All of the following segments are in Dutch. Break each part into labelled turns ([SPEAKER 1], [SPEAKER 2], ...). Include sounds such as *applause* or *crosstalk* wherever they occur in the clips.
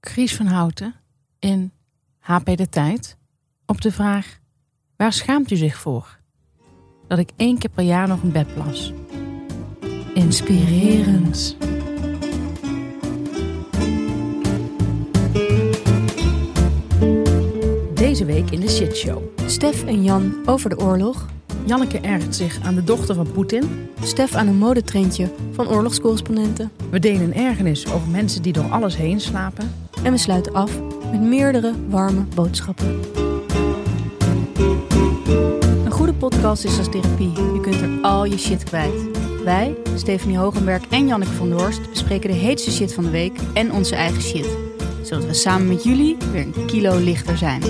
[SPEAKER 1] Chris van Houten in HP De Tijd op de vraag: Waar schaamt u zich voor? Dat ik één keer per jaar nog een bed plas. Inspirerend. Deze week in de Shit Show.
[SPEAKER 2] Stef en Jan over de oorlog.
[SPEAKER 1] Janneke ergert zich aan de dochter van Poetin.
[SPEAKER 2] Stef aan een modetrendje van oorlogscorrespondenten.
[SPEAKER 1] We delen een ergernis over mensen die door alles heen slapen.
[SPEAKER 2] En we sluiten af met meerdere warme boodschappen. Een goede podcast is als therapie. Je kunt er al je shit kwijt. Wij, Stefanie Hogenberg en Janneke van der Horst, bespreken de heetste shit van de week en onze eigen shit. Zodat we samen met jullie weer een kilo lichter zijn.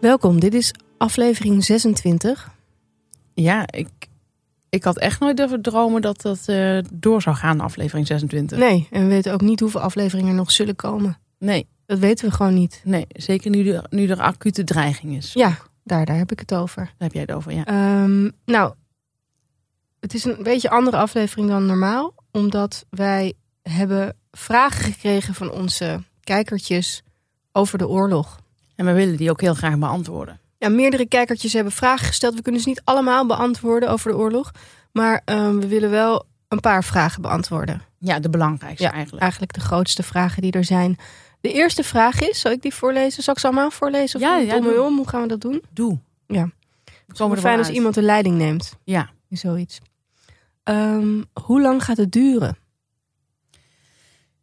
[SPEAKER 2] Welkom, dit is aflevering 26.
[SPEAKER 1] Ja, ik, ik had echt nooit durven dromen dat dat eh, door zou gaan, aflevering 26.
[SPEAKER 2] Nee, en we weten ook niet hoeveel afleveringen er nog zullen komen.
[SPEAKER 1] nee,
[SPEAKER 2] Dat weten we gewoon niet.
[SPEAKER 1] nee, zeker nu, de, nu er acute dreiging is.
[SPEAKER 2] Ja, daar, daar heb ik het over.
[SPEAKER 1] Daar heb jij het over, ja.
[SPEAKER 2] Ehm, nou, het is een beetje andere aflevering dan normaal. Omdat wij hebben vragen gekregen van onze kijkertjes over de oorlog.
[SPEAKER 1] En we willen die ook heel graag beantwoorden.
[SPEAKER 2] Ja, meerdere kijkertjes hebben vragen gesteld. We kunnen ze niet allemaal beantwoorden over de oorlog. Maar ehm, we willen wel een paar vragen beantwoorden.
[SPEAKER 1] Ja, de belangrijkste
[SPEAKER 2] Ja,
[SPEAKER 1] eigenlijk.
[SPEAKER 2] Eigenlijk de grootste vragen die er zijn. De eerste vraag is, zal ik die voorlezen? Zal ik ze allemaal voorlezen? Of
[SPEAKER 1] Ja,
[SPEAKER 2] doe
[SPEAKER 1] ja,
[SPEAKER 2] het om
[SPEAKER 1] doe.
[SPEAKER 2] me om? Hoe gaan we dat doen?
[SPEAKER 1] Doe.
[SPEAKER 2] Ja.
[SPEAKER 1] We
[SPEAKER 2] Het
[SPEAKER 1] Komen er
[SPEAKER 2] is fijn
[SPEAKER 1] wel
[SPEAKER 2] als
[SPEAKER 1] uit.
[SPEAKER 2] iemand de leiding neemt.
[SPEAKER 1] Ja.
[SPEAKER 2] in Zoiets. Ehm, hoe lang gaat het duren?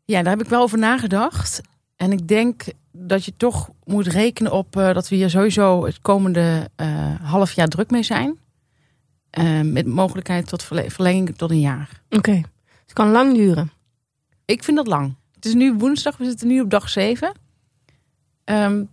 [SPEAKER 1] ja, daar heb ik wel over nagedacht. En ik denk dat je toch moet rekenen op eh, dat we hier sowieso het komende eh, half jaar druk mee zijn. Eh, met mogelijkheid tot verle- verlenging tot een jaar.
[SPEAKER 2] Oké. Het kan lang duren.
[SPEAKER 1] Ik vind dat lang. Het is nu woensdag, we zitten nu op dag 7. Ehm,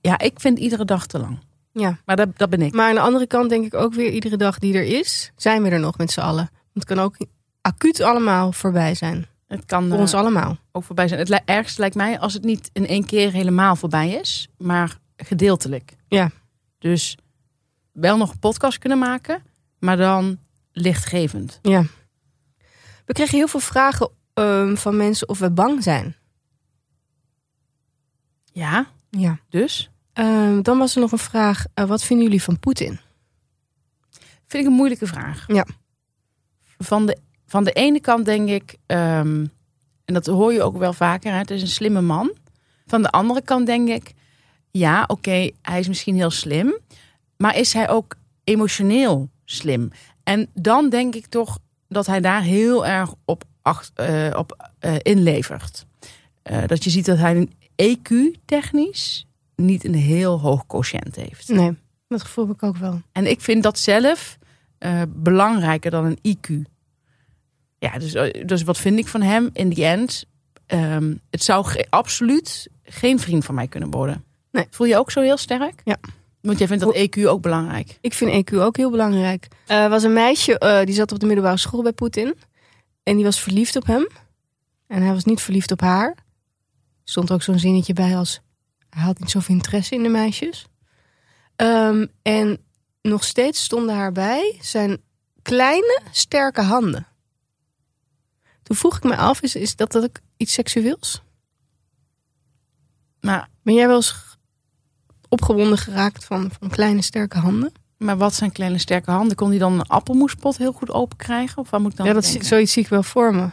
[SPEAKER 1] ja, ik vind iedere dag te lang.
[SPEAKER 2] Ja.
[SPEAKER 1] Maar dat, dat ben ik.
[SPEAKER 2] Maar aan de andere kant denk ik ook weer iedere dag die er is, zijn we er nog met z'n allen. Want het kan ook acuut allemaal voorbij zijn.
[SPEAKER 1] Het kan
[SPEAKER 2] Voor
[SPEAKER 1] eh,
[SPEAKER 2] ons allemaal.
[SPEAKER 1] ook voorbij zijn. Het li- ergste lijkt mij als het niet in één keer helemaal voorbij is, maar gedeeltelijk.
[SPEAKER 2] Ja.
[SPEAKER 1] Dus wel nog een podcast kunnen maken, maar dan lichtgevend.
[SPEAKER 2] Ja. We kregen heel veel vragen ehm, van mensen of we bang zijn.
[SPEAKER 1] Ja,
[SPEAKER 2] Ja.
[SPEAKER 1] dus
[SPEAKER 2] Ehm, dan was er nog een vraag. eh, wat vinden jullie van Poetin?
[SPEAKER 1] vind ik een moeilijke vraag.
[SPEAKER 2] Ja.
[SPEAKER 1] Van de, van de ene kant denk ik, ehm, en dat hoor je ook wel vaker, hè, het is een slimme man. Van de andere kant denk ik, ja, oké, hij is misschien heel slim, maar is hij ook emotioneel slim? En dan denk ik toch dat hij daar heel erg op, acht, eh, op eh, inlevert. Eh, dat je ziet dat hij een EQ-technisch niet een heel hoog quotient heeft.
[SPEAKER 2] Nee. Dat gevoel heb ik ook wel.
[SPEAKER 1] En ik vind dat zelf eh, belangrijker dan een IQ. Ja, dus, eh, dus wat vind ik van hem in the end? Ehm, het zou ge- absoluut geen vriend van mij kunnen worden.
[SPEAKER 2] Nee.
[SPEAKER 1] Voel je ook zo heel sterk?
[SPEAKER 2] Ja.
[SPEAKER 1] Want jij vindt dat EQ ook belangrijk.
[SPEAKER 2] Ik vind EQ ook heel belangrijk. Er was een meisje eh, die zat op de middelbare school bij Poetin. En die was verliefd op hem. En hij was niet verliefd op haar. Er stond ook zo'n zinnetje bij als... Hij had niet zoveel interesse in de meisjes. Ehm, en nog steeds stonden haar bij zijn kleine, sterke handen. Toen vroeg ik me af, is, is dat, dat ook iets seksueels?
[SPEAKER 1] Maar,
[SPEAKER 2] Ben jij wel eens g- opgewonden geraakt van, van kleine, sterke handen?
[SPEAKER 1] maar wat zijn kleine sterke handen? Kon hij dan een appelmoespot heel goed open krijgen? Of wat moet ik dan
[SPEAKER 2] ja, dat,
[SPEAKER 1] denken?
[SPEAKER 2] zie- zoiets zie ik wel voor me.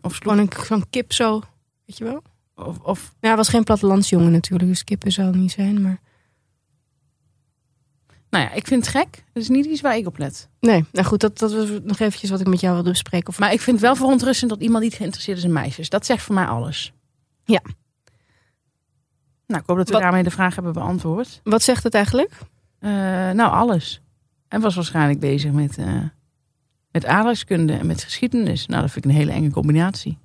[SPEAKER 1] Of,
[SPEAKER 2] Gewoon
[SPEAKER 1] sloeg-
[SPEAKER 2] een, zo'n kip zo, weet je wel?
[SPEAKER 1] of, of
[SPEAKER 2] Ja, hij was geen plattelandsjongen natuurlijk, dus kippen zou het niet zijn, maar...
[SPEAKER 1] nou ja, ik vind het gek. Dat is niet iets waar ik op let.
[SPEAKER 2] Nee, nou goed, dat, dat was nog eventjes wat ik met jou wilde bespreken. Of...
[SPEAKER 1] Maar ik vind het wel verontrustend dat iemand niet geïnteresseerd is in meisjes. Dat zegt voor mij alles.
[SPEAKER 2] Ja.
[SPEAKER 1] Nou, ik hoop dat we
[SPEAKER 2] Wat-
[SPEAKER 1] daarmee de vraag hebben beantwoord.
[SPEAKER 2] Wat zegt het eigenlijk?
[SPEAKER 1] Eh, nou, alles. En was waarschijnlijk bezig met, eh met aardrijkskunde en met geschiedenis. Nou, dat vind ik een hele enge combinatie.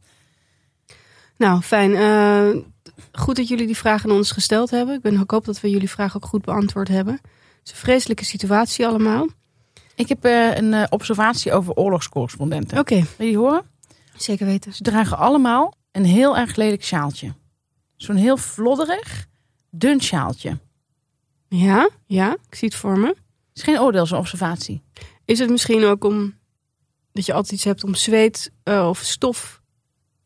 [SPEAKER 2] Nou, fijn. eh, goed dat jullie die vragen aan ons gesteld hebben. Ik, ben, ik hoop dat we jullie vragen ook goed beantwoord hebben. Het is een vreselijke situatie allemaal. Oké,
[SPEAKER 1] Ik heb eh, een eh, observatie over oorlogscorrespondenten.
[SPEAKER 2] Oh.
[SPEAKER 1] Wil je die horen?
[SPEAKER 2] zeker weten.
[SPEAKER 1] Ze dragen allemaal een heel erg lelijk sjaaltje. Zo'n heel vlodderig, dun sjaaltje. Het
[SPEAKER 2] Ja, ja, ik zie het voor me.
[SPEAKER 1] is geen oordeel, zo'n observatie.
[SPEAKER 2] Is het misschien ook om dat je altijd iets hebt om zweet eh, of stof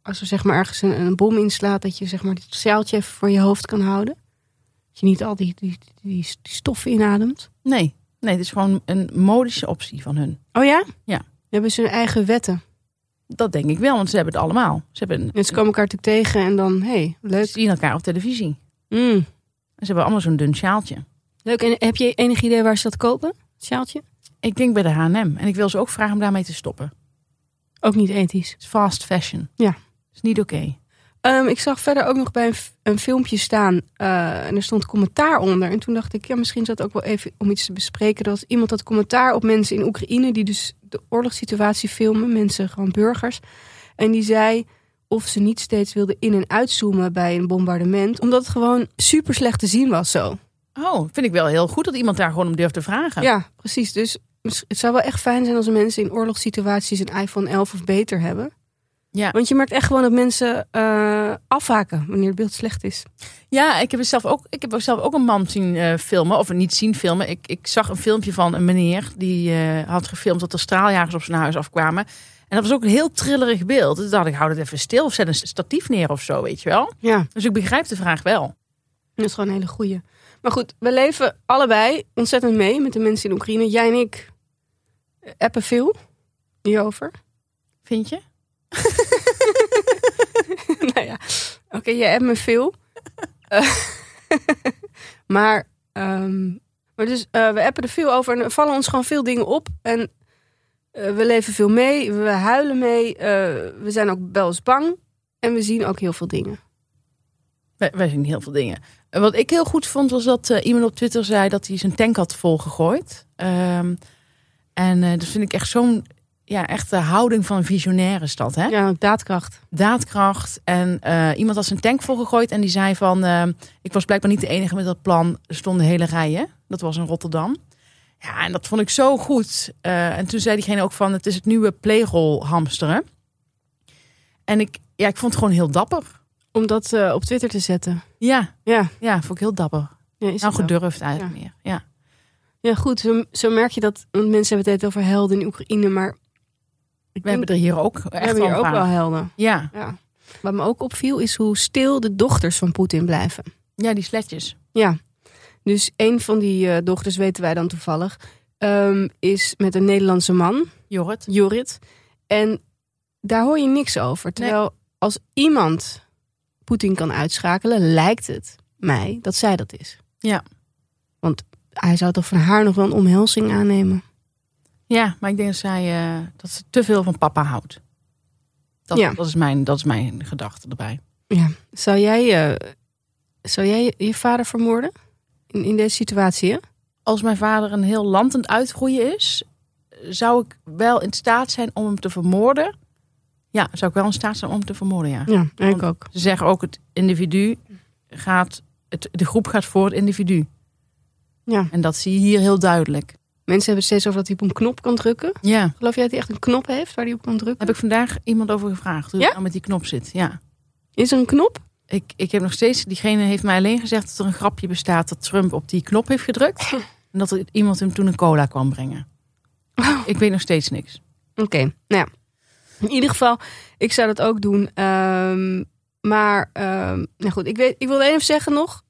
[SPEAKER 2] als er zeg maar ergens een, een bom inslaat, dat je zeg maar dit zeiltje even voor je hoofd kan houden. Dat je niet al die, die, die, die stoffen inademt.
[SPEAKER 1] Nee, nee, het is gewoon een modische optie van hun.
[SPEAKER 2] Oh ja?
[SPEAKER 1] Ja.
[SPEAKER 2] Hebben ze hun eigen wetten.
[SPEAKER 1] Dat denk ik wel, want ze hebben het allemaal. Ze, hebben
[SPEAKER 2] En ze komen elkaar natuurlijk tegen en dan, hey,
[SPEAKER 1] ze
[SPEAKER 2] leuk.
[SPEAKER 1] zien elkaar op televisie.
[SPEAKER 2] Mm,
[SPEAKER 1] En ze hebben allemaal zo'n dun sjaaltje.
[SPEAKER 2] Leuk. En heb je enig idee waar ze dat kopen? Het Sjaaltje?
[SPEAKER 1] Ik denk bij de H&M. En ik wil ze ook vragen om daarmee te stoppen.
[SPEAKER 2] Ook niet ethisch.
[SPEAKER 1] Het is fast fashion.
[SPEAKER 2] Ja.
[SPEAKER 1] is niet oké.
[SPEAKER 2] Ehm, ik zag verder ook nog bij een, f- een filmpje staan eh, en er stond commentaar onder. En toen dacht ik, ja, misschien is dat ook wel even om iets te bespreken. Dat was iemand had commentaar op mensen in Oekraïne die dus de oorlogssituatie filmen, mensen, gewoon burgers. En die zei of ze niet steeds wilden in- en uitzoomen bij een bombardement, omdat het gewoon super slecht te zien was zo.
[SPEAKER 1] Oh, vind ik wel heel goed dat iemand daar gewoon om durft te vragen.
[SPEAKER 2] Ja, precies. Dus mis- het zou wel echt fijn zijn als mensen in oorlogssituaties een iPhone 11 of beter hebben.
[SPEAKER 1] Ja.
[SPEAKER 2] Want je merkt echt gewoon dat mensen eh, afhaken wanneer het beeld slecht is.
[SPEAKER 1] Ja, ik heb, er zelf ook, ik heb ook zelf ook een man zien eh, filmen. Of niet zien filmen. Ik, ik zag een filmpje van een meneer. Die eh, had gefilmd dat er straaljagers op zijn huis afkwamen. En dat was ook een heel trillerig beeld. Toen dacht ik, hou dat even stil. Of zet een statief neer of zo, weet je wel.
[SPEAKER 2] Ja.
[SPEAKER 1] Dus ik begrijp de vraag wel.
[SPEAKER 2] Dat is gewoon een hele goeie. Maar goed, we leven allebei ontzettend mee met de mensen in Oekraïne. Jij en ik appen veel hierover. *laughs*
[SPEAKER 1] Vind je?
[SPEAKER 2] nou ja, oké, jij appt me veel. *laughs* Eh, *laughs* maar, ehm, maar dus, eh, we appen er veel over en er vallen ons gewoon veel dingen op. En eh, we leven veel mee, we huilen mee, eh, we zijn ook wel eens bang. En we zien ook heel veel dingen.
[SPEAKER 1] Wij, wij zien heel veel dingen. En Wat ik heel goed vond was dat eh, iemand op Twitter zei dat hij zijn tank had volgegooid. Ehm, en eh, dat vind ik echt zo'n ja, echt de houding van een visionair is dat. Hè?
[SPEAKER 2] Ja, daadkracht.
[SPEAKER 1] Daadkracht. En eh, iemand had zijn tank volgegooid en die zei van... ehm, ik was blijkbaar niet de enige met dat plan. Er stonden hele rijen. Dat was in Rotterdam. Ja, en dat vond ik zo goed. Eh, en toen zei diegene ook van... het is het nieuwe playroll hamsteren. En ik, ja, ik vond het gewoon heel dapper.
[SPEAKER 2] Om dat eh, op Twitter te zetten.
[SPEAKER 1] Ja,
[SPEAKER 2] Ja,
[SPEAKER 1] ja vond ik heel dapper.
[SPEAKER 2] ja is
[SPEAKER 1] Nou,
[SPEAKER 2] het ook.
[SPEAKER 1] gedurfd eigenlijk meer. Ja.
[SPEAKER 2] Ja, goed. Zo, zo merk je dat. Want mensen hebben het altijd over helden in Oekraïne. Maar ik
[SPEAKER 1] We
[SPEAKER 2] denk,
[SPEAKER 1] hebben er hier ook echt
[SPEAKER 2] we hebben
[SPEAKER 1] wel
[SPEAKER 2] hier
[SPEAKER 1] een
[SPEAKER 2] ook
[SPEAKER 1] paar.
[SPEAKER 2] wel helden.
[SPEAKER 1] Ja.
[SPEAKER 2] Ja. Wat me ook opviel is hoe stil de dochters van Poetin blijven.
[SPEAKER 1] ja, die sletjes.
[SPEAKER 2] Ja. Dus een van die eh, dochters, weten wij dan toevallig, ehm, is met een Nederlandse man,
[SPEAKER 1] Jorrit.
[SPEAKER 2] Jorrit. En daar hoor je niks over. Terwijl als iemand Poetin kan uitschakelen, lijkt het mij dat zij dat is.
[SPEAKER 1] Ja.
[SPEAKER 2] Want hij zou toch van haar nog wel een omhelzing aannemen.
[SPEAKER 1] Ja, maar ik denk dat, zij, eh, dat ze te veel van papa houdt. Dat,
[SPEAKER 2] Ja.
[SPEAKER 1] dat, is, mijn, dat is mijn gedachte erbij.
[SPEAKER 2] Ja. Zou jij, eh, zou jij je vader vermoorden? In, in deze situatie, hè?
[SPEAKER 1] Als mijn vader een heel land aan het uitgroeien is... zou ik wel in staat zijn om hem te vermoorden. Ja, zou ik wel in staat zijn om hem te vermoorden, ja.
[SPEAKER 2] Ja, ik ook.
[SPEAKER 1] Ze zeggen ook het individu gaat... Het, de groep gaat voor het individu.
[SPEAKER 2] Ja.
[SPEAKER 1] En dat zie je hier heel duidelijk.
[SPEAKER 2] Mensen hebben het steeds over dat hij op een knop kan drukken.
[SPEAKER 1] Ja.
[SPEAKER 2] Geloof jij dat hij echt een knop heeft waar hij op kan drukken?
[SPEAKER 1] Heb ik vandaag iemand over gevraagd. Hoe
[SPEAKER 2] Ja?
[SPEAKER 1] het nou met die knop zit. Ja.
[SPEAKER 2] Is er een knop?
[SPEAKER 1] Ik, ik heb nog steeds, diegene heeft mij alleen gezegd dat er een grapje bestaat dat Trump op die knop heeft gedrukt. En dat er iemand hem toen een cola kwam brengen. Ik weet nog steeds niks.
[SPEAKER 2] Oké, nou ja. In ieder geval, ik zou dat ook doen. Ehm, maar, ehm, nou goed, ik, weet, ik wilde even zeggen nog.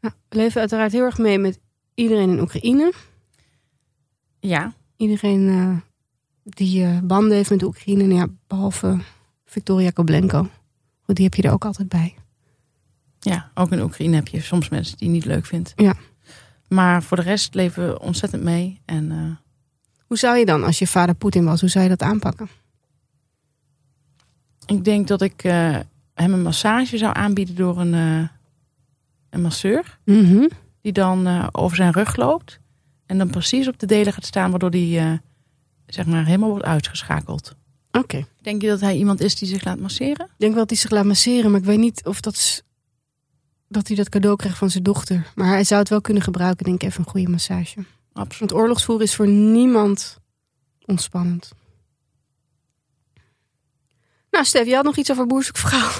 [SPEAKER 2] Nou, we leven uiteraard heel erg mee met iedereen in Oekraïne.
[SPEAKER 1] Ja,
[SPEAKER 2] Iedereen eh, die eh, banden heeft met de Oekraïne. Nou ja, behalve Victoria Koblenko. Want die heb je er ook altijd bij.
[SPEAKER 1] ja, ook in Oekraïne heb je soms mensen die je niet leuk vindt.
[SPEAKER 2] Ja.
[SPEAKER 1] Maar voor de rest leven we ontzettend mee. En eh,
[SPEAKER 2] Hoe zou je dan, als je vader Poetin was, hoe zou je dat aanpakken?
[SPEAKER 1] ik denk dat ik eh, hem een massage zou aanbieden door een, eh, een masseur. die dan eh, over zijn rug loopt. En dan precies op de delen gaat staan, waardoor die eh, zeg maar helemaal wordt uitgeschakeld.
[SPEAKER 2] Oké.
[SPEAKER 1] Denk je dat hij iemand is die zich laat masseren?
[SPEAKER 2] Ik denk wel dat hij zich laat masseren, maar ik weet niet of dat, is- dat hij dat cadeau krijgt van zijn dochter. Maar hij zou het wel kunnen gebruiken, denk ik, even een goede massage.
[SPEAKER 1] Absoluut.
[SPEAKER 2] *laughs* Want oorlogsvoer is voor niemand ontspannend. Nou, Stef, je had nog iets over boerzoekverhaal.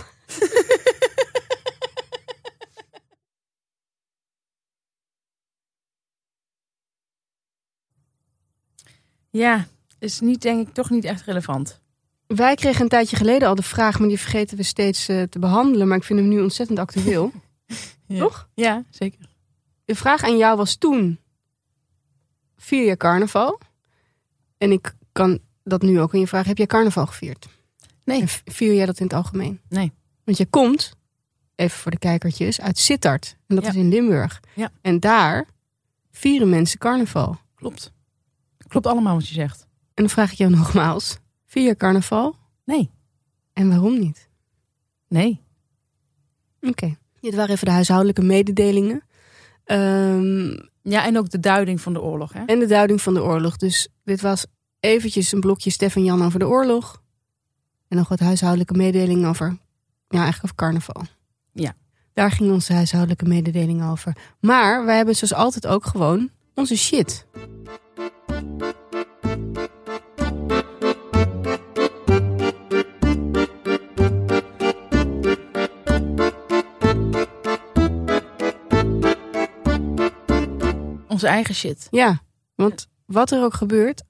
[SPEAKER 1] Ja, is niet, denk ik, toch niet echt relevant.
[SPEAKER 2] Wij kregen een tijdje geleden al de vraag, maar die vergeten we steeds eh, te behandelen. Maar ik vind hem nu ontzettend
[SPEAKER 1] *laughs*
[SPEAKER 2] actueel.
[SPEAKER 1] Ja.
[SPEAKER 2] Toch?
[SPEAKER 1] Ja, zeker.
[SPEAKER 2] De vraag aan jou was toen vier jaar carnaval. En ik kan dat nu ook in je vraag. Heb jij carnaval gevierd?
[SPEAKER 1] Nee.
[SPEAKER 2] En v- vier jij dat in het algemeen?
[SPEAKER 1] Nee.
[SPEAKER 2] Want je komt, even voor de kijkertjes, uit Sittard. En dat
[SPEAKER 1] Ja.
[SPEAKER 2] is in Limburg.
[SPEAKER 1] Ja.
[SPEAKER 2] En daar vieren mensen carnaval.
[SPEAKER 1] Klopt. Klopt allemaal wat je zegt.
[SPEAKER 2] En dan vraag ik jou nogmaals. Vier jaar carnaval?
[SPEAKER 1] Nee.
[SPEAKER 2] En waarom niet?
[SPEAKER 1] Nee.
[SPEAKER 2] Oké. Dit waren even de huishoudelijke mededelingen. Ehm,
[SPEAKER 1] Ja, en ook de duiding van de oorlog. Hè?
[SPEAKER 2] en de duiding van de oorlog. Dus dit was eventjes een blokje Stef en Jan over de oorlog. En nog wat huishoudelijke mededelingen over... Ja, eigenlijk over carnaval.
[SPEAKER 1] Ja.
[SPEAKER 2] Daar ging onze huishoudelijke mededeling over. Maar wij hebben zoals altijd ook gewoon onze shit.
[SPEAKER 1] Onze eigen shit.
[SPEAKER 2] Ja, want wat er ook gebeurt...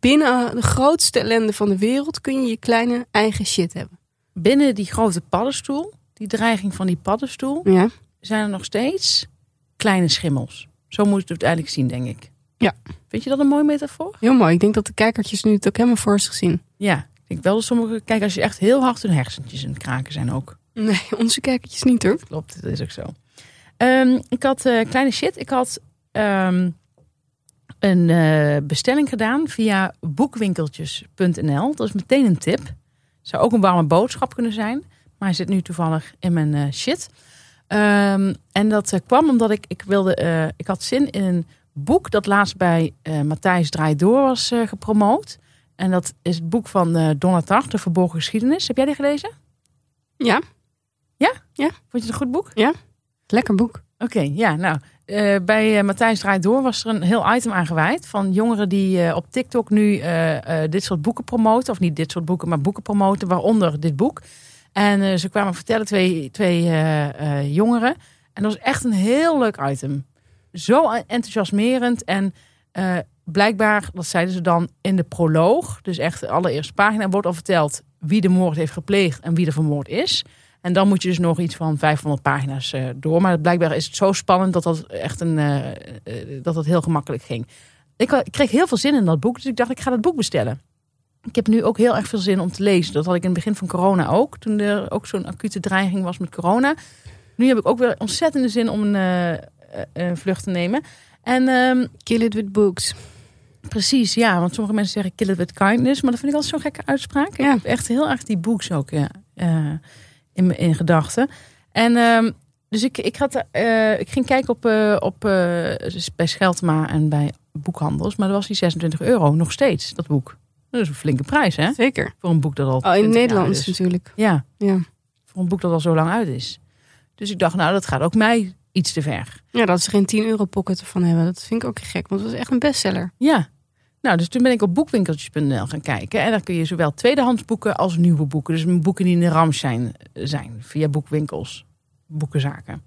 [SPEAKER 2] Binnen eh, de grootste ellende van de wereld kun je je kleine eigen shit hebben.
[SPEAKER 1] Binnen die grote paddenstoel, die dreiging van die paddenstoel,
[SPEAKER 2] Ja.
[SPEAKER 1] zijn er nog steeds kleine schimmels. Zo moet je het uiteindelijk zien, denk ik.
[SPEAKER 2] Ja.
[SPEAKER 1] Vind je dat een mooie metafoor?
[SPEAKER 2] Heel mooi. Ik denk dat de kijkertjes nu het ook helemaal voor zich zien.
[SPEAKER 1] Ja. Ik denk wel dat sommige kijk, als je echt heel hard hun hersentjes in het kraken zijn ook.
[SPEAKER 2] Nee, onze kijkertjes niet hoor.
[SPEAKER 1] Klopt, dat is ook zo. Ehm, ik had eh, kleine shit. Ik had ehm, een eh, bestelling gedaan via boekwinkeltjes.nl. Dat is meteen een tip. Zou ook een warme boodschap kunnen zijn. Maar hij zit nu toevallig in mijn eh, shit. Ehm, en dat eh, kwam omdat ik, ik wilde. eh, ik had zin in een boek dat laatst bij eh Matthijs Draai Door was eh, gepromoot. En dat is het boek van eh Donna Tartt, De Verborgen Geschiedenis. Heb jij die gelezen?
[SPEAKER 2] Ja,
[SPEAKER 1] Vond je het een goed boek?
[SPEAKER 2] lekker boek.
[SPEAKER 1] Oké, ja, nou. eh, bij eh, Matthijs Draait Door was er een heel item aan gewijd. Van jongeren die eh, op TikTok nu eh, eh, dit soort boeken promoten. Of niet dit soort boeken, maar boeken promoten. Waaronder dit boek. En eh, ze kwamen vertellen, twee, twee eh, eh, jongeren. En dat was echt een heel leuk item. Zo enthousiasmerend. En eh, blijkbaar, dat zeiden ze dan in de proloog. Dus echt de allereerste pagina wordt al verteld wie de moord heeft gepleegd en wie er vermoord is. En dan moet je dus nog iets van 500 pagina's eh, door. Maar blijkbaar is het zo spannend dat dat echt een, eh, eh, dat dat heel gemakkelijk ging. Ik, wa- ik kreeg heel veel zin in dat boek, dus ik dacht ik ga dat boek bestellen. Ik heb nu ook heel erg veel zin om te lezen. Dat had ik in het begin van corona ook, toen er ook zo'n acute dreiging was met corona. Nu heb ik ook weer ontzettende zin om een eh, eh, eh, vlucht te nemen. En ehm,
[SPEAKER 2] Kill it with books.
[SPEAKER 1] Precies, ja. Want sommige mensen zeggen kill it with kindness. Maar dat vind ik altijd zo'n gekke uitspraak.
[SPEAKER 2] Ja.
[SPEAKER 1] Ik heb echt heel erg die books ook ja, eh, in, mijn- in gedachten. En ehm, dus ik, ik, had, eh, ik ging kijken op, eh, op eh, dus bij Scheltma en bij boekhandels. Maar dat was die 26 euro nog steeds, dat boek. Dat is een flinke prijs, hè? dus.
[SPEAKER 2] Zeker.
[SPEAKER 1] Voor een boek dat al
[SPEAKER 2] Oh,
[SPEAKER 1] 20
[SPEAKER 2] in
[SPEAKER 1] jaar
[SPEAKER 2] het Nederlands
[SPEAKER 1] is.
[SPEAKER 2] natuurlijk.
[SPEAKER 1] Ja,
[SPEAKER 2] Ja.
[SPEAKER 1] voor een boek dat al zo lang uit is. Dus ik dacht, nou, dat gaat ook mij iets te ver.
[SPEAKER 2] ja, dat ze geen 10 euro pocket ervan hebben. Dat vind ik ook gek, want het was echt een bestseller.
[SPEAKER 1] Ja. Nou, dus toen ben ik op boekwinkeltjes.nl gaan kijken. En daar kun je zowel tweedehands boeken als nieuwe boeken. Dus boeken die in de ram zijn, zijn via boekwinkels, boekenzaken.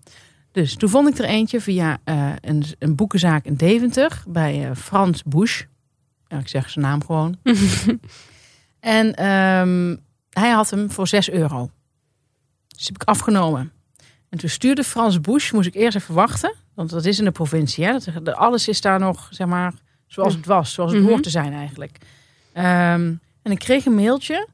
[SPEAKER 1] Dus toen vond ik er eentje via eh, een, een boekenzaak in Deventer bij eh, Frans Busch. Ja, ik zeg zijn naam gewoon. en ehm, hij had hem voor 6 euro. Dus heb ik afgenomen. En toen stuurde Frans Busch, moest ik eerst even wachten. Want dat is in de provincie. Hè? Dat, alles is daar nog, zeg maar, zoals het was. Zoals het
[SPEAKER 2] Mhm.
[SPEAKER 1] hoort te zijn eigenlijk. Ehm, en ik kreeg een mailtje.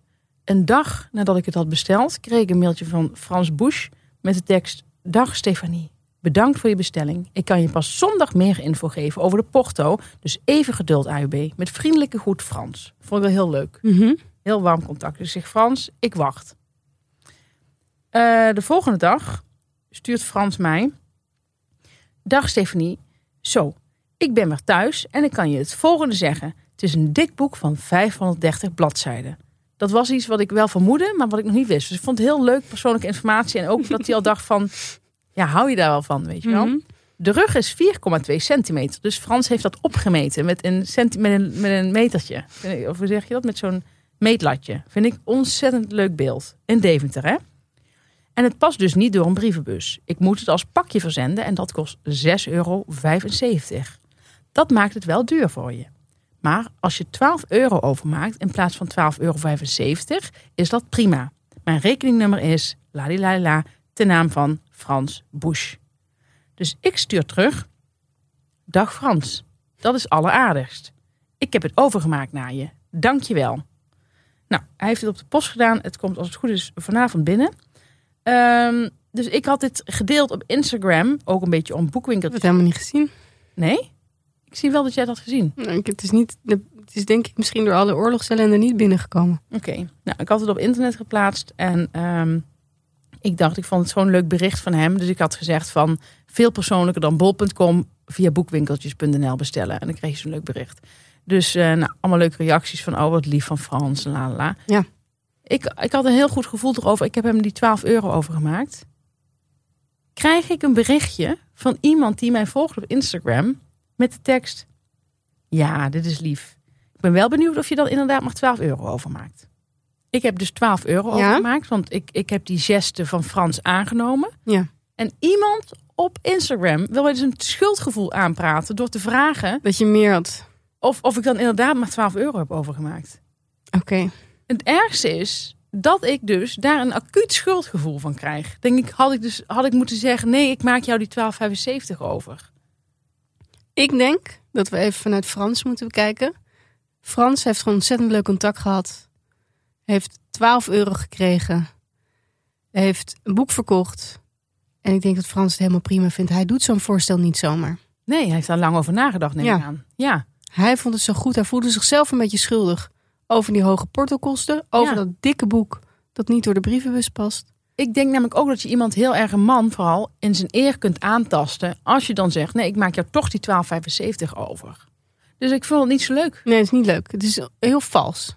[SPEAKER 1] Een dag nadat ik het had besteld, kreeg ik een mailtje van Frans Busch. Met de tekst, dag Stefanie. Bedankt voor je bestelling. Ik kan je pas zondag meer info geven over de porto. Dus even geduld, AUB. Met vriendelijke groet Frans. Vond ik wel heel leuk.
[SPEAKER 2] Mhm.
[SPEAKER 1] Heel warm contact. Dus ik zeg Frans, ik wacht. Eh, de volgende dag stuurt Frans mij. Dag Stefanie. Zo, ik ben weer thuis en ik kan je het volgende zeggen. Het is een dik boek van 530 bladzijden. Dat was iets wat ik wel vermoedde, maar wat ik nog niet wist. Dus ik vond het heel leuk persoonlijke informatie. En ook dat hij al dacht van, ja, hou je daar wel van, weet je wel.
[SPEAKER 2] Mhm.
[SPEAKER 1] De rug is 4,2 centimeter. Dus Frans heeft dat opgemeten met een, centi- met een, met een metertje. Of hoe zeg je dat? Met zo'n meetlatje. Vind ik ontzettend leuk beeld. In Deventer, hè? En het past dus niet door een brievenbus. Ik moet het als pakje verzenden en dat kost 6,75 euro. Dat maakt het wel duur voor je. Maar als je 12 euro overmaakt in plaats van 12,75 euro, is dat prima. Mijn rekeningnummer is ladilala ten naam van Frans Bush. Dus ik stuur terug. Dag Frans, dat is alleraardigst. Ik heb het overgemaakt naar je. Dank je wel. Nou, hij heeft het op de post gedaan. Het komt als het goed is vanavond binnen. Ehm, dus ik had dit gedeeld op Instagram. Ook een beetje om boekwinkel.
[SPEAKER 2] heb het helemaal niet gezien.
[SPEAKER 1] Nee? Ik zie wel dat jij dat had gezien.
[SPEAKER 2] Nou, ik- Het is, niet, het is denk ik misschien door alle oorlogsellende niet binnengekomen.
[SPEAKER 1] Oké. Nou, ik had het op internet geplaatst en ehm, ik dacht, ik vond het zo'n leuk bericht van hem. Dus ik had gezegd van veel persoonlijker dan bol.com via boekwinkeltjes.nl bestellen. En dan kreeg je zo'n leuk bericht. Dus eh, nou, allemaal leuke reacties van oh, wat lief van Frans, la la la.
[SPEAKER 2] Ja.
[SPEAKER 1] Ik, ik had een heel goed gevoel erover. Ik heb hem die 12 euro overgemaakt. Krijg ik een berichtje van iemand die mij volgt op Instagram met de tekst: Ja, dit is lief. Ik ben wel benieuwd of je dan inderdaad maar 12 euro overmaakt. Ik heb dus 12 euro
[SPEAKER 2] Ja.
[SPEAKER 1] overgemaakt, want ik, ik heb die geste van Frans aangenomen.
[SPEAKER 2] Ja.
[SPEAKER 1] En iemand op Instagram wil mij dus een schuldgevoel aanpraten door te vragen
[SPEAKER 2] Dat je meer had.
[SPEAKER 1] of, of ik dan inderdaad maar 12 euro heb overgemaakt.
[SPEAKER 2] Oké.
[SPEAKER 1] Het ergste is dat ik dus daar een acuut schuldgevoel van krijg. Denk ik, had ik dus had ik moeten zeggen: nee, ik maak jou die 12,75 over.
[SPEAKER 2] Ik denk dat we even vanuit Frans moeten bekijken. Frans heeft gewoon ontzettend leuk contact gehad. Heeft 12 euro gekregen. Heeft een boek verkocht. En ik denk dat Frans het helemaal prima vindt. Hij doet zo'n voorstel niet zomaar.
[SPEAKER 1] Nee, hij heeft daar lang over nagedacht, neem
[SPEAKER 2] Ja.
[SPEAKER 1] ik aan. Ja,
[SPEAKER 2] Hij vond het zo goed. Hij voelde zichzelf een beetje schuldig. Over die hoge portokosten. Over
[SPEAKER 1] Ja.
[SPEAKER 2] dat dikke boek dat niet door de brievenbus past.
[SPEAKER 1] ik denk namelijk ook dat je iemand heel erg, een man vooral, in zijn eer kunt aantasten. als je dan zegt: nee, ik maak jou toch die 12,75 over. Dus ik vond het niet zo leuk.
[SPEAKER 2] Nee, het is niet leuk. Het is heel vals.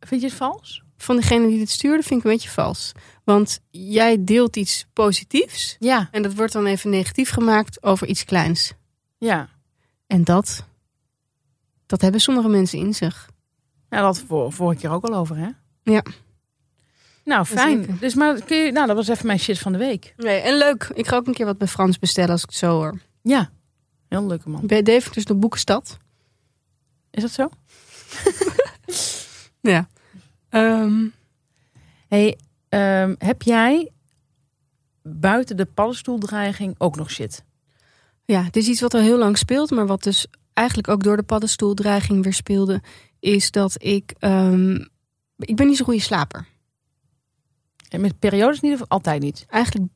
[SPEAKER 1] Vind je het vals?
[SPEAKER 2] Van degene die dit stuurde vind ik een beetje vals. Want jij deelt iets positiefs.
[SPEAKER 1] Ja,
[SPEAKER 2] En dat wordt dan even negatief gemaakt over iets kleins.
[SPEAKER 1] ja.
[SPEAKER 2] En dat, dat hebben sommige mensen in zich.
[SPEAKER 1] Nou, dat hadden we vor- vorige keer ook al over, hè?
[SPEAKER 2] Ja.
[SPEAKER 1] Nou, fijn.
[SPEAKER 2] Zeker.
[SPEAKER 1] Dus, maar kun je, nou, dat was even mijn shit van de week.
[SPEAKER 2] Nee, en leuk. Ik ga ook een keer wat bij Frans bestellen als ik het zo hoor.
[SPEAKER 1] Ja, heel leuke man.
[SPEAKER 2] Bij Deventer is de boekenstad.
[SPEAKER 1] Is dat zo?
[SPEAKER 2] Ja. Ehm,
[SPEAKER 1] Hey, ehm, heb jij buiten de paddenstoeldreiging ook nog shit?
[SPEAKER 2] ja, het is iets wat al heel lang speelt, maar wat dus eigenlijk ook door de paddenstoeldreiging weer speelde, is dat ik, ehm, ik ben niet zo'n goede slaper.
[SPEAKER 1] En met periodes niet of altijd niet?
[SPEAKER 2] Eigenlijk,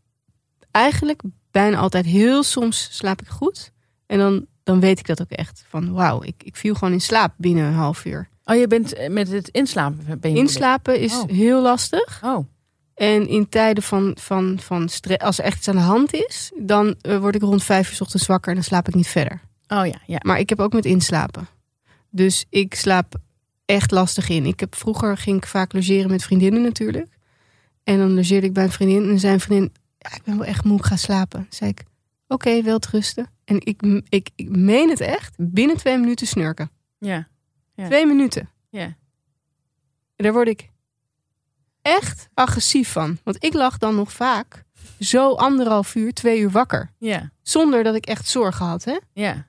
[SPEAKER 2] eigenlijk bijna altijd. Heel soms slaap ik goed. En dan, dan weet ik dat ook echt. Van wauw, ik, ik viel gewoon in slaap binnen een half uur.
[SPEAKER 1] Oh, je bent eh, met het inslapen. Ben je
[SPEAKER 2] Inslapen is
[SPEAKER 1] Oh.
[SPEAKER 2] heel lastig.
[SPEAKER 1] Oh,
[SPEAKER 2] En in tijden van, van, van stress, als er echt iets aan de hand is, dan eh, word ik rond vijf uur 's ochtends wakker en dan slaap ik niet verder.
[SPEAKER 1] oh ja, ja.
[SPEAKER 2] Maar ik heb ook met inslapen. Dus ik slaap echt lastig in. Ik heb, vroeger ging ik vaak logeren met vriendinnen natuurlijk. En dan logeerde ik bij een vriendin en zijn vriendin, ja, ik ben wel echt moe, ik ga slapen. Dan zei ik, oké, wel te rusten. En ik, ik, ik meen het echt, binnen twee minuten snurken.
[SPEAKER 1] ja. Ja.
[SPEAKER 2] Twee minuten.
[SPEAKER 1] ja.
[SPEAKER 2] En Daar word ik echt agressief van. Want ik lag dan nog vaak zo anderhalf uur, twee uur wakker.
[SPEAKER 1] Ja,
[SPEAKER 2] Zonder dat ik echt zorgen had. Hè?
[SPEAKER 1] ja.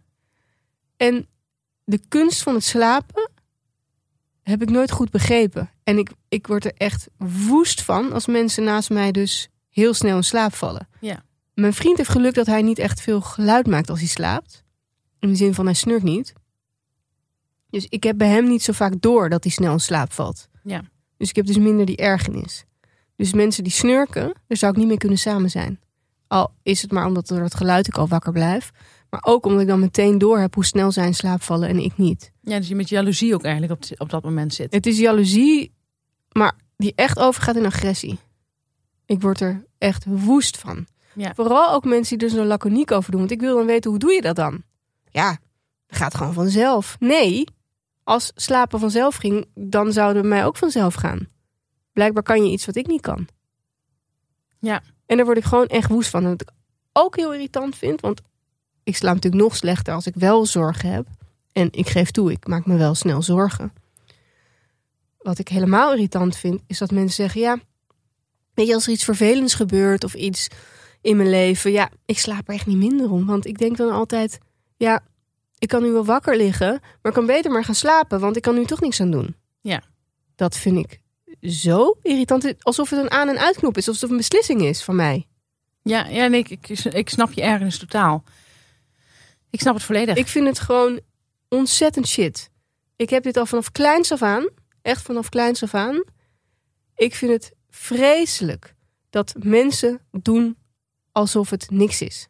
[SPEAKER 2] En de kunst van het slapen heb ik nooit goed begrepen. En ik, ik word er echt woest van als mensen naast mij dus heel snel in slaap vallen.
[SPEAKER 1] Ja.
[SPEAKER 2] Mijn vriend heeft geluk dat hij niet echt veel geluid maakt als hij slaapt. In de zin van hij snurkt niet. Dus ik heb bij hem niet zo vaak door dat hij snel in slaap valt.
[SPEAKER 1] Ja.
[SPEAKER 2] Dus ik heb dus minder die ergernis. Dus mensen die snurken, daar zou ik niet mee kunnen samen zijn. Al is het maar omdat door het geluid ik al wakker blijf. Maar ook omdat ik dan meteen door heb hoe snel zij in slaap vallen en ik niet.
[SPEAKER 1] Ja, dus je met jaloezie ook eigenlijk op, t- op dat moment zit.
[SPEAKER 2] Het is jaloezie, maar die echt overgaat in agressie. Ik word er echt woest van.
[SPEAKER 1] Ja.
[SPEAKER 2] Vooral ook mensen die er zo laconiek over doen. Want ik wil dan weten, hoe doe je dat dan? Ja, dat gaat gewoon vanzelf. Nee, als slapen vanzelf ging, dan zouden we mij ook vanzelf gaan. Blijkbaar kan je iets wat ik niet kan.
[SPEAKER 1] Ja.
[SPEAKER 2] En daar word ik gewoon echt woest van. En Wat ik ook heel irritant vind, want ik slaap natuurlijk nog slechter als ik wel zorgen heb. En ik geef toe, ik maak me wel snel zorgen. Wat ik helemaal irritant vind, is dat mensen zeggen: Ja, weet je, als er iets vervelends gebeurt of iets in mijn leven, ja, ik slaap er echt niet minder om. Want ik denk dan altijd: Ja, ik kan nu wel wakker liggen, maar ik kan beter maar gaan slapen, want ik kan nu toch niks aan doen.
[SPEAKER 1] Ja.
[SPEAKER 2] Dat vind ik zo irritant. Alsof het een aan- en uitknop is, alsof het een beslissing is van mij.
[SPEAKER 1] Ja, ja nee, ik, ik, ik snap je ergens totaal. Ik snap het volledig.
[SPEAKER 2] Ik vind het gewoon ontzettend shit. Ik heb dit al vanaf kleins af aan. Echt vanaf kleins af aan. Ik vind het vreselijk dat mensen doen alsof het niks is.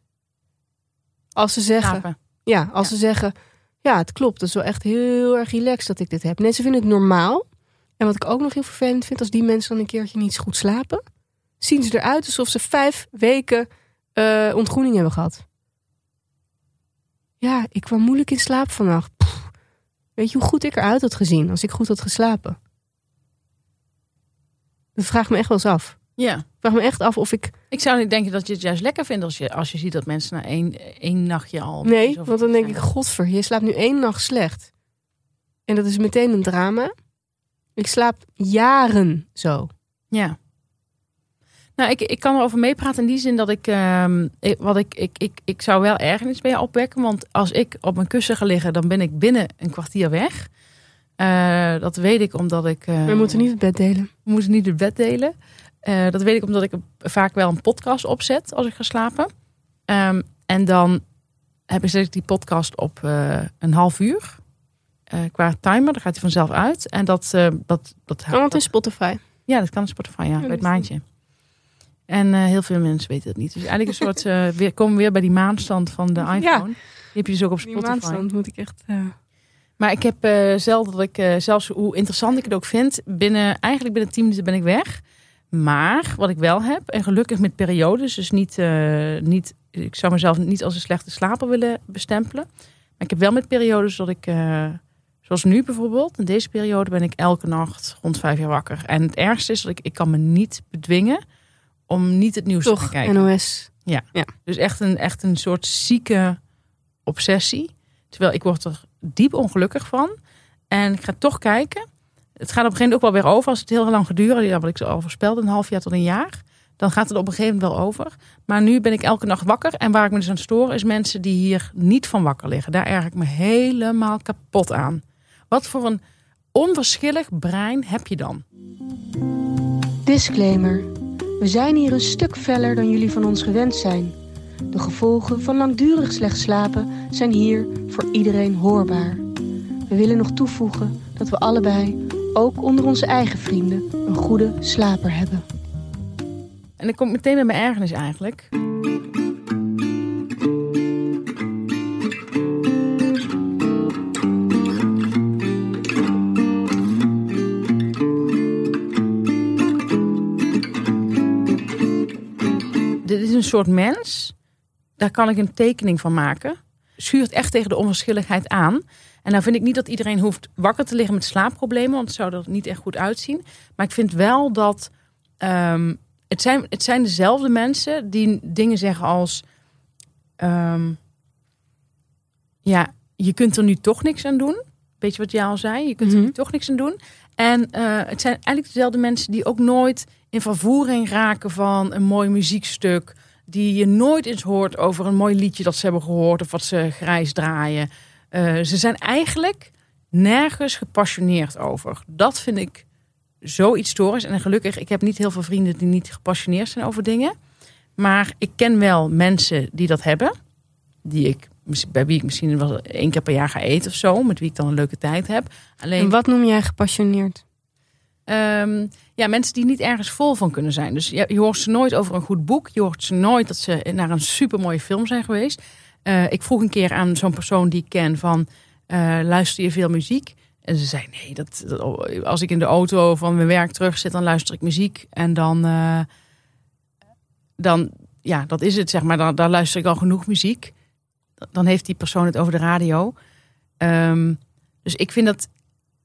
[SPEAKER 2] Als ze zeggen,
[SPEAKER 1] Apen.
[SPEAKER 2] ja, als
[SPEAKER 1] Ja.
[SPEAKER 2] ze zeggen, ja, het klopt. Dat is wel echt heel erg relaxed dat ik dit heb. Mensen vinden het normaal. En wat ik ook nog heel vervelend vind, als die mensen dan een keertje niet goed slapen, zien ze eruit alsof ze vijf weken eh, ontgroening hebben gehad. Ja, ik kwam moeilijk in slaap vannacht. Pff, weet je hoe goed ik eruit had gezien als ik goed had geslapen? Dat vraagt me echt wel eens af.
[SPEAKER 1] Ja.
[SPEAKER 2] Ik vraag me echt af of ik
[SPEAKER 1] Ik zou niet denken dat je het juist lekker vindt als je, als je ziet dat mensen na één, één nachtje al.
[SPEAKER 2] Nee,
[SPEAKER 1] zoveel
[SPEAKER 2] want dan denk ik,
[SPEAKER 1] zijn.
[SPEAKER 2] godver, je slaapt nu één nacht slecht. En dat is meteen een drama. Ik slaap jaren zo.
[SPEAKER 1] Ja. Nou, ik, ik kan erover meepraten in die zin dat ik, ehm, ik- wat ik, ik, ik, ik zou wel ergernis bij je opwekken. Want als ik op mijn kussen ga liggen, dan ben ik binnen een kwartier weg. Eh, dat weet ik omdat ik. eh,
[SPEAKER 2] We moeten niet het bed delen.
[SPEAKER 1] we moeten niet het bed delen. Eh, dat weet ik omdat ik vaak wel een podcast opzet als ik ga slapen. Ehm, en dan heb ik, zet ik die podcast op eh, een half uur. eh, qua timer, dan gaat hij vanzelf uit. En dat, eh dat, dat,
[SPEAKER 2] Kan het in Spotify.
[SPEAKER 1] ja, dat kan op Spotify, ja, bij
[SPEAKER 2] dat
[SPEAKER 1] het
[SPEAKER 2] is
[SPEAKER 1] maandje. En eh, heel veel mensen weten dat niet. Dus eigenlijk een soort, eh weer, komen we weer bij die maanstand van de
[SPEAKER 2] Ja.
[SPEAKER 1] iPhone. Die heb je dus ook op
[SPEAKER 2] Die
[SPEAKER 1] Spotify.
[SPEAKER 2] maandstand moet ik echt... eh,
[SPEAKER 1] Maar ik heb eh zelden dat ik, eh, zelfs hoe interessant ik het ook vind, binnen, eigenlijk binnen 10 minuten ben ik weg. Maar wat ik wel heb, en gelukkig met periodes, dus niet, eh, niet, ik zou mezelf niet als een slechte slaper willen bestempelen. Maar ik heb wel met periodes dat ik, eh, zoals nu bijvoorbeeld, in deze periode ben ik elke nacht rond vijf jaar wakker. En het ergste is dat ik, ik kan me niet bedwingen om niet het nieuws te
[SPEAKER 2] toch,
[SPEAKER 1] gaan kijken.
[SPEAKER 2] NOS.
[SPEAKER 1] Dus echt een, echt een soort zieke obsessie. Terwijl ik word er diep ongelukkig van. En ik ga toch kijken. Het gaat op een gegeven moment ook wel weer over. Als het heel lang geduren, ja, wat ik zo al voorspelde, een half jaar tot een jaar. Dan gaat het op een gegeven moment wel over. Maar nu ben ik elke nacht wakker. En waar ik me dus aan stoor, is mensen die hier niet van wakker liggen. Daar erg ik me helemaal kapot aan. Wat voor een onverschillig brein heb je dan?
[SPEAKER 3] Disclaimer. We zijn hier een stuk feller dan jullie van ons gewend zijn. De gevolgen van langdurig slecht slapen zijn hier voor iedereen hoorbaar. We willen nog toevoegen dat we allebei, ook onder onze eigen vrienden, een goede slaper hebben.
[SPEAKER 1] En ik kom meteen bij mijn ergernis eigenlijk. Dit is een soort mens. Daar kan ik een tekening van maken. Schuurt echt tegen de onverschilligheid aan. En nou vind ik niet dat iedereen hoeft wakker te liggen met slaapproblemen. Want het zou er niet echt goed uitzien. Maar ik vind wel dat... ehm, het zijn, het zijn dezelfde mensen die dingen zeggen als... ehm, ja, je kunt er nu toch niks aan doen. Weet je wat jij al zei? Je kunt er
[SPEAKER 2] Mhm.
[SPEAKER 1] nu toch niks aan doen. En eh, het zijn eigenlijk dezelfde mensen die ook nooit in vervoering raken van een mooi muziekstuk. Die je nooit eens hoort over een mooi liedje dat ze hebben gehoord of wat ze grijs draaien. Eh, ze zijn eigenlijk nergens gepassioneerd over. Dat vind ik zoiets storisch. En gelukkig, ik heb niet heel veel vrienden die niet gepassioneerd zijn over dingen. Maar ik ken wel mensen die dat hebben. Die ik, bij wie ik misschien wel één keer per jaar ga eten of zo. Met wie ik dan een leuke tijd heb. Alleen,
[SPEAKER 2] En wat noem jij gepassioneerd?
[SPEAKER 1] Ehm, ja, mensen die niet ergens vol van kunnen zijn. Dus je, je hoort ze nooit over een goed boek. Je hoort ze nooit dat ze naar een supermooie film zijn geweest. Eh, ik vroeg een keer aan zo'n persoon die ik ken van... eh, luister je veel muziek? En ze zei, nee, dat, dat- als ik in de auto van mijn werk terug zit... dan luister ik muziek en dan... eh, dan ja, dat is het, zeg maar. Dan, daar luister ik al genoeg muziek. Dan heeft die persoon het over de radio. Ehm, dus ik vind dat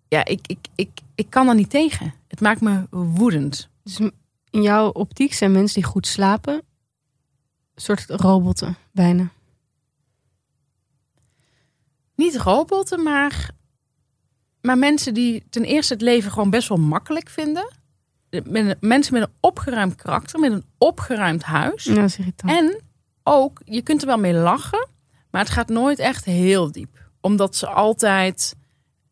[SPEAKER 1] ja, ik, ik, ik, ik kan er niet tegen. Het maakt me woedend.
[SPEAKER 2] Dus m- in jouw optiek zijn mensen die goed slapen... een soort robotten, bijna.
[SPEAKER 1] Niet robotten, maar, maar mensen die ten eerste het leven gewoon best wel makkelijk vinden. De- met een- Mensen met een opgeruimd karakter, met een opgeruimd huis.
[SPEAKER 2] Ja, dat
[SPEAKER 4] Hm.
[SPEAKER 2] is irritant.
[SPEAKER 1] En ook, je kunt er wel mee lachen, maar het gaat nooit echt heel diep. Omdat ze altijd.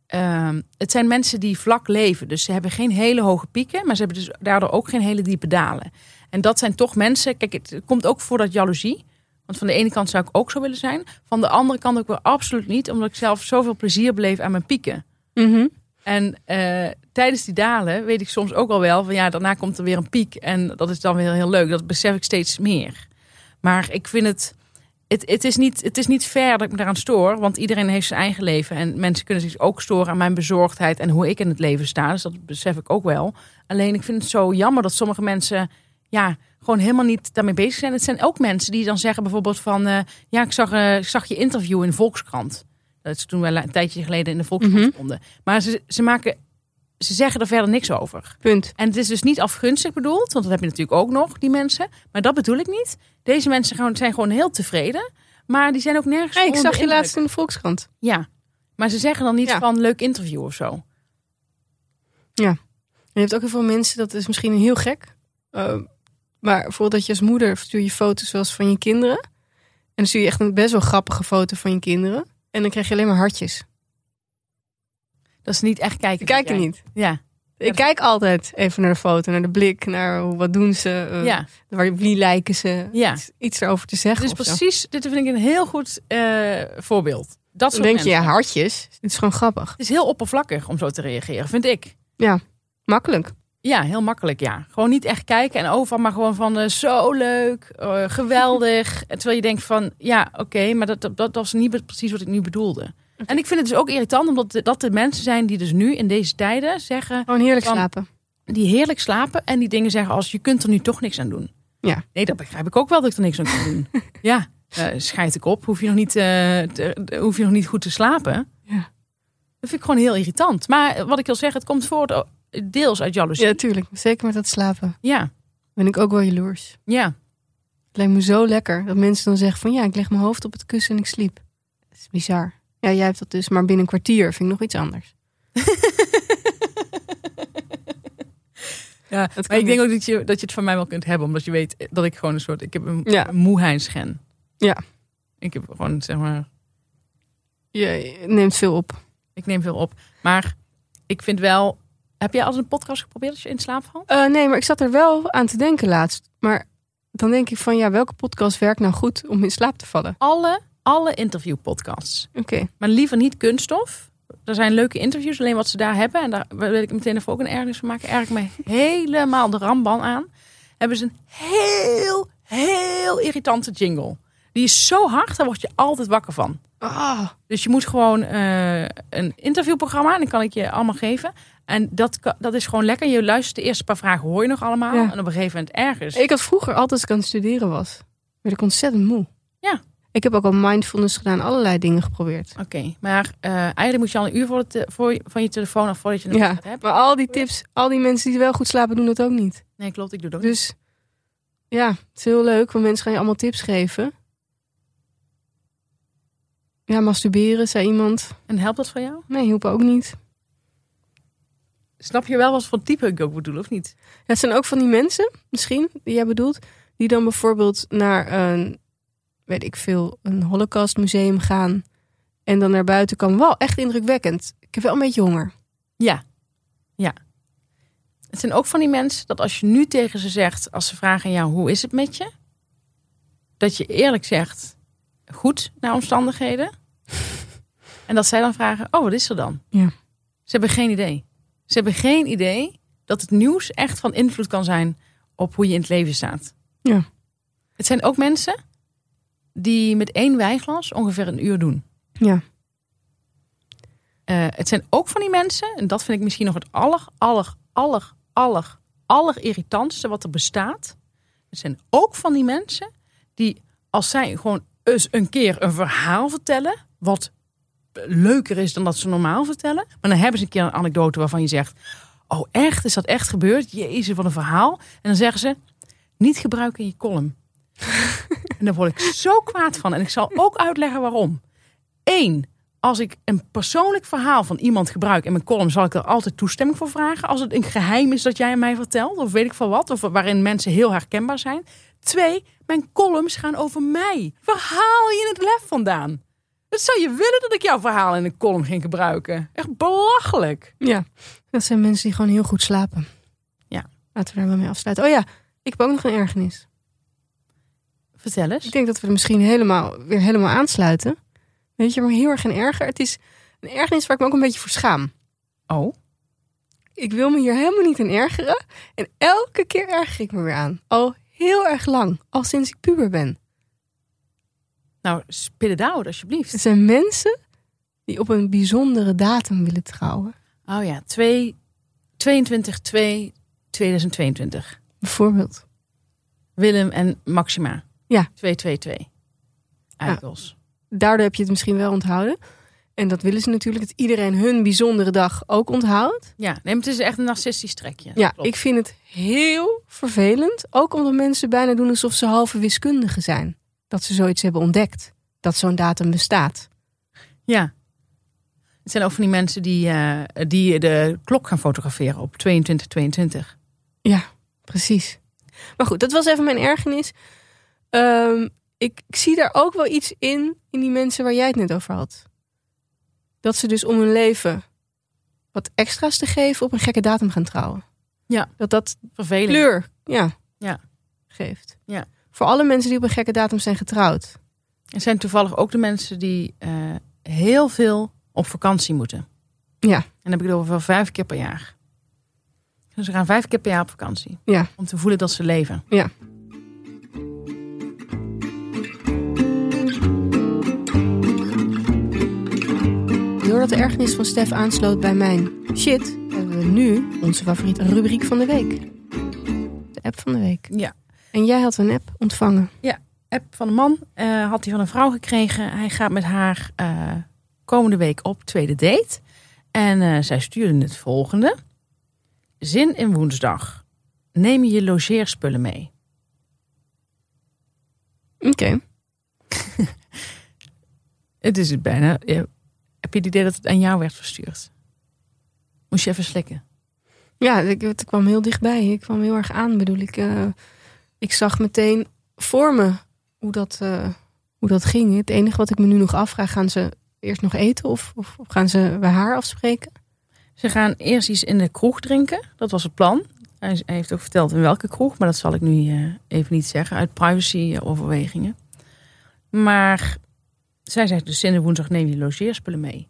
[SPEAKER 1] ehm, het zijn mensen die vlak leven. Dus ze hebben geen hele hoge pieken. Maar ze hebben dus daardoor ook geen hele diepe dalen. En dat zijn toch mensen. Kijk, het komt ook voor dat jaloezie. Want van de ene kant zou ik ook zo willen zijn. Van de andere kant ook weer absoluut niet. Omdat ik zelf zoveel plezier beleef aan mijn pieken.
[SPEAKER 4] Mhm,
[SPEAKER 1] En eh, tijdens die dalen weet ik soms ook al wel van ja, daarna komt er weer een piek. En dat is dan weer heel leuk. Dat besef ik steeds meer. Maar ik vind het. Het, het, is niet, het is niet fair dat ik me daaraan stoor, want iedereen heeft zijn eigen leven. En mensen kunnen zich ook storen aan mijn bezorgdheid en hoe ik in het leven sta. Dus dat besef ik ook wel. Alleen ik vind het zo jammer dat sommige mensen ja, gewoon helemaal niet daarmee bezig zijn. Het zijn ook mensen die dan zeggen bijvoorbeeld van... eh, ja, ik zag, eh, ik zag je interview in de Volkskrant. Dat is toen wel een tijdje geleden in de Volkskrant
[SPEAKER 4] Mhm.
[SPEAKER 1] stonden. Maar ze, ze, maken, ze zeggen er verder niks over.
[SPEAKER 4] Punt.
[SPEAKER 1] En het is dus niet afgunstig bedoeld, want dat heb je natuurlijk ook nog, die mensen. Maar dat bedoel ik niet. Deze mensen gewoon- zijn gewoon heel tevreden. Maar die zijn ook nergens
[SPEAKER 4] Hey, ik
[SPEAKER 1] onder
[SPEAKER 4] zag je
[SPEAKER 1] de indruk.
[SPEAKER 4] laatst in de Volkskrant.
[SPEAKER 1] Ja, maar ze zeggen dan niet
[SPEAKER 4] Ja.
[SPEAKER 1] van leuk interview of zo.
[SPEAKER 4] Je hebt ook heel veel mensen, dat is misschien heel gek. eh, maar bijvoorbeeld dat je als moeder stuur je foto's zoals van je kinderen. En dan stuur je echt een best wel grappige foto van je kinderen. En dan krijg je alleen maar hartjes.
[SPEAKER 1] Dat ze niet echt kijken.
[SPEAKER 4] Ik kijk er
[SPEAKER 1] naar jij.
[SPEAKER 4] niet.
[SPEAKER 1] Ja,
[SPEAKER 4] Ik kijk altijd even naar de foto, naar de blik, naar hoe- wat doen ze, eh,
[SPEAKER 1] ja.
[SPEAKER 4] waar, wie lijken ze.
[SPEAKER 1] Ja.
[SPEAKER 4] Iets, iets erover te zeggen.
[SPEAKER 1] Dus
[SPEAKER 4] of zo.
[SPEAKER 1] precies, dit vind ik een heel goed eh, voorbeeld. Dat
[SPEAKER 4] Dan
[SPEAKER 1] soort
[SPEAKER 4] denk je, ja,
[SPEAKER 1] mensen.
[SPEAKER 4] hartjes. Het is gewoon grappig.
[SPEAKER 1] Het is heel oppervlakkig om zo te reageren, vind ik.
[SPEAKER 4] Makkelijk.
[SPEAKER 1] Ja, heel makkelijk, ja. Gewoon niet echt kijken en over, maar gewoon van eh, zo leuk, eh,
[SPEAKER 4] *laughs*
[SPEAKER 1] geweldig. En terwijl je denkt van, ja, oké, maar dat, dat, dat was niet be- precies wat ik nu bedoelde. En ik vind het dus ook irritant, omdat de- dat de mensen zijn die dus nu in deze tijden zeggen,
[SPEAKER 4] Gewoon heerlijk
[SPEAKER 1] Van-
[SPEAKER 4] slapen.
[SPEAKER 1] die heerlijk slapen en die dingen zeggen als, je kunt er nu toch niks aan doen.
[SPEAKER 4] Ja.
[SPEAKER 1] Nee, dat begrijp ik ook wel dat ik er niks aan kan
[SPEAKER 4] *laughs*
[SPEAKER 1] doen. ja, eh schijt ik op, hoef je, nog niet, eh, te- te- hoef je nog niet goed te slapen.
[SPEAKER 4] Ja.
[SPEAKER 1] Dat vind ik gewoon heel irritant. Maar eh, wat ik wil zeggen, het komt voort eh, deels uit jaloezie.
[SPEAKER 4] Ja, tuurlijk. Zeker met dat slapen.
[SPEAKER 1] ja.
[SPEAKER 4] Ben ik ook wel jaloers.
[SPEAKER 1] ja.
[SPEAKER 4] Het lijkt me zo lekker dat mensen dan zeggen van ja, ik leg mijn hoofd op het kussen en ik sliep. Dat is bizar. Ja, jij hebt dat dus, maar binnen een kwartier vind ik nog iets anders.
[SPEAKER 1] Ja,
[SPEAKER 4] kan
[SPEAKER 1] maar ik
[SPEAKER 4] niet.
[SPEAKER 1] denk ook dat je, dat je het van mij wel kunt hebben, omdat je weet dat ik gewoon een soort. Ik heb een,
[SPEAKER 4] Ja.
[SPEAKER 1] een moeheidsgen.
[SPEAKER 4] Ja.
[SPEAKER 1] Ik heb gewoon, zeg maar.
[SPEAKER 4] Je neemt veel op.
[SPEAKER 1] Ik neem veel op. Maar ik vind wel. Heb jij al eens een podcast geprobeerd als je in slaap valt?
[SPEAKER 4] Eh, nee, maar ik zat er wel aan te denken laatst. Maar dan denk ik van ja, welke podcast werkt nou goed om in slaap te vallen?
[SPEAKER 1] Alle, alle interviewpodcasts.
[SPEAKER 4] Oké,
[SPEAKER 1] Maar liever niet kunststof. Er zijn leuke interviews, alleen wat ze daar hebben. En daar wil ik meteen even ook een ergernis van maken. Erg ik me helemaal de ramban aan. Hebben ze een heel, heel irritante jingle. Die is zo hard, daar word je altijd wakker van.
[SPEAKER 4] Ah,
[SPEAKER 1] Dus je moet gewoon eh, een interviewprogramma, en dat kan ik je allemaal geven. En dat, ka- dat is gewoon lekker. Je luistert de eerste paar vragen, hoor je nog allemaal.
[SPEAKER 4] Ja.
[SPEAKER 1] En op een gegeven moment ergens.
[SPEAKER 4] ik had vroeger altijd als ik aan het studeren was, werd ik ontzettend moe.
[SPEAKER 1] Ja.
[SPEAKER 4] Ik heb ook al mindfulness gedaan, allerlei dingen geprobeerd.
[SPEAKER 1] Oké, maar eh, eigenlijk moet je al een uur voor het, eh, voor, je- van je telefoon af voordat je het
[SPEAKER 4] Ja.
[SPEAKER 1] hebt.
[SPEAKER 4] Maar al die tips, al die mensen die wel goed slapen doen dat ook niet.
[SPEAKER 1] Nee, klopt, ik doe dat ook.
[SPEAKER 4] Dus ja, het is heel leuk, want mensen gaan je allemaal tips geven. Ja, masturberen, zei iemand.
[SPEAKER 1] En helpt dat voor jou?
[SPEAKER 4] Nee, hielp ook niet.
[SPEAKER 1] Snap je wel wat voor type ik ook bedoel, of niet?
[SPEAKER 4] Ja, het zijn ook van die mensen, misschien, die jij bedoelt, die dan bijvoorbeeld naar een, weet ik veel, een holocaustmuseum gaan. En dan naar buiten komen. Wauw, echt indrukwekkend. Ik heb wel een beetje honger.
[SPEAKER 1] Ja. Ja. Het zijn ook van die mensen dat als je nu tegen ze zegt, als ze vragen aan jou, hoe is het met je? Dat je eerlijk zegt, goed naar
[SPEAKER 4] *laughs*
[SPEAKER 1] omstandigheden. en dat zij dan vragen, oh, wat is er dan?
[SPEAKER 4] Ja.
[SPEAKER 1] Ze hebben geen idee. Ze hebben geen idee dat het nieuws echt van invloed kan zijn op hoe je in het leven staat.
[SPEAKER 4] Ja.
[SPEAKER 1] Het zijn ook mensen die met één wijnglas ongeveer een uur doen.
[SPEAKER 4] Ja.
[SPEAKER 1] Eh, het zijn ook van die mensen, en dat vind ik misschien nog het aller, aller, aller, aller, aller irritantste wat er bestaat. Het zijn ook van die mensen die, als zij gewoon eens een keer een verhaal vertellen, wat leuker is dan dat ze normaal vertellen, maar dan hebben ze een keer een anekdote waarvan je zegt: Oh, echt? Is dat echt gebeurd? Jezus, wat een verhaal. En dan zeggen ze: Niet gebruiken in je column. en daar word ik zo kwaad van. En ik zal ook uitleggen waarom. Eén, als ik een persoonlijk verhaal van iemand gebruik in mijn column, zal ik er altijd toestemming voor vragen. Als het een geheim is dat jij aan mij vertelt, of weet ik van wat, of waarin mensen heel herkenbaar zijn. Twee, mijn columns gaan over mij. Waar haal je het lef vandaan? Wat zou je willen dat ik jouw verhaal in een column ging gebruiken? Echt belachelijk.
[SPEAKER 4] Ja, dat zijn mensen die gewoon heel goed slapen.
[SPEAKER 1] Ja.
[SPEAKER 4] Laten we daar wel mee afsluiten. Oh ja, ik heb ook nog een ergernis.
[SPEAKER 1] Vertel eens.
[SPEAKER 4] Ik denk dat we er misschien helemaal, weer helemaal aansluiten. Weet je, maar heel erg een erger. Het is een ergernis waar ik me ook een beetje voor schaam.
[SPEAKER 1] Oh,
[SPEAKER 4] Ik wil me hier helemaal niet aan ergeren. En elke keer erger ik me weer aan. Al heel erg lang. Al sinds ik puber ben.
[SPEAKER 1] nou, spit het out
[SPEAKER 4] Het
[SPEAKER 1] alsjeblieft.
[SPEAKER 4] Dus zijn mensen die op een bijzondere datum willen trouwen.
[SPEAKER 1] Oh ja, 2, 22, 2, 2022.
[SPEAKER 4] Bijvoorbeeld.
[SPEAKER 1] Willem en Maxima.
[SPEAKER 4] Ja.
[SPEAKER 1] 222. Eikels.
[SPEAKER 4] Daardoor heb je het misschien wel onthouden. En dat willen ze natuurlijk. Dat iedereen hun bijzondere dag ook onthoudt.
[SPEAKER 1] Ja, nee, maar het is echt een narcistisch trekje.
[SPEAKER 4] Ja,
[SPEAKER 1] Klopt.
[SPEAKER 4] ik vind het heel vervelend. Ook omdat mensen bijna doen alsof ze halve wiskundigen zijn. Dat ze zoiets hebben ontdekt. Dat zo'n datum bestaat.
[SPEAKER 1] Ja. Het zijn ook van die mensen die, eh, die de klok gaan fotograferen op 22, 22.
[SPEAKER 4] Precies. Maar goed, dat was even mijn ergernis. Ehm, ik, ik zie daar ook wel iets in, in die mensen waar jij het net over had. Dat ze dus om hun leven wat extra's te geven op een gekke datum gaan trouwen.
[SPEAKER 1] Ja.
[SPEAKER 4] Dat dat
[SPEAKER 1] Vervelend.
[SPEAKER 4] kleur ja,
[SPEAKER 1] Ja.
[SPEAKER 4] geeft.
[SPEAKER 1] Ja.
[SPEAKER 4] Voor alle mensen die op een gekke datum zijn getrouwd.
[SPEAKER 1] Het zijn toevallig ook de mensen die eh, heel veel op vakantie moeten.
[SPEAKER 4] Ja.
[SPEAKER 1] En dan heb ik het over vijf keer per jaar. Dus ze gaan vijf keer per jaar op vakantie.
[SPEAKER 4] Ja.
[SPEAKER 1] Om te voelen dat ze leven.
[SPEAKER 4] Ja. Doordat de ergernis van Stef aansloot bij mijn shit, hebben we nu onze favoriete rubriek van de week. De app van de week.
[SPEAKER 1] Ja.
[SPEAKER 4] En jij had een app ontvangen.
[SPEAKER 1] App van een man eh, had hij van een vrouw gekregen. Hij gaat met haar eh, komende week op tweede date. En eh, zij stuurde het volgende. Zin in woensdag. Neem je logeerspullen mee.
[SPEAKER 4] Oké.
[SPEAKER 1] Het is het bijna. Ja. Heb je het idee dat het aan jou werd verstuurd? Moest je even slikken?
[SPEAKER 4] Ja, ik, het kwam heel dichtbij. Ik kwam heel erg aan, bedoel ik. eh, ik zag meteen voor me hoe dat, eh, hoe dat ging. Het enige wat ik me nu nog afvraag, gaan ze eerst nog eten of, of gaan ze bij haar afspreken?
[SPEAKER 1] Ze gaan eerst iets in de kroeg drinken. Dat was het plan. Hij is- hij heeft ook verteld in welke kroeg, maar dat zal ik nu eh, even niet zeggen. Uit privacy-overwegingen. Maar zij zegt dus zin in woensdag neem je logeerspullen mee.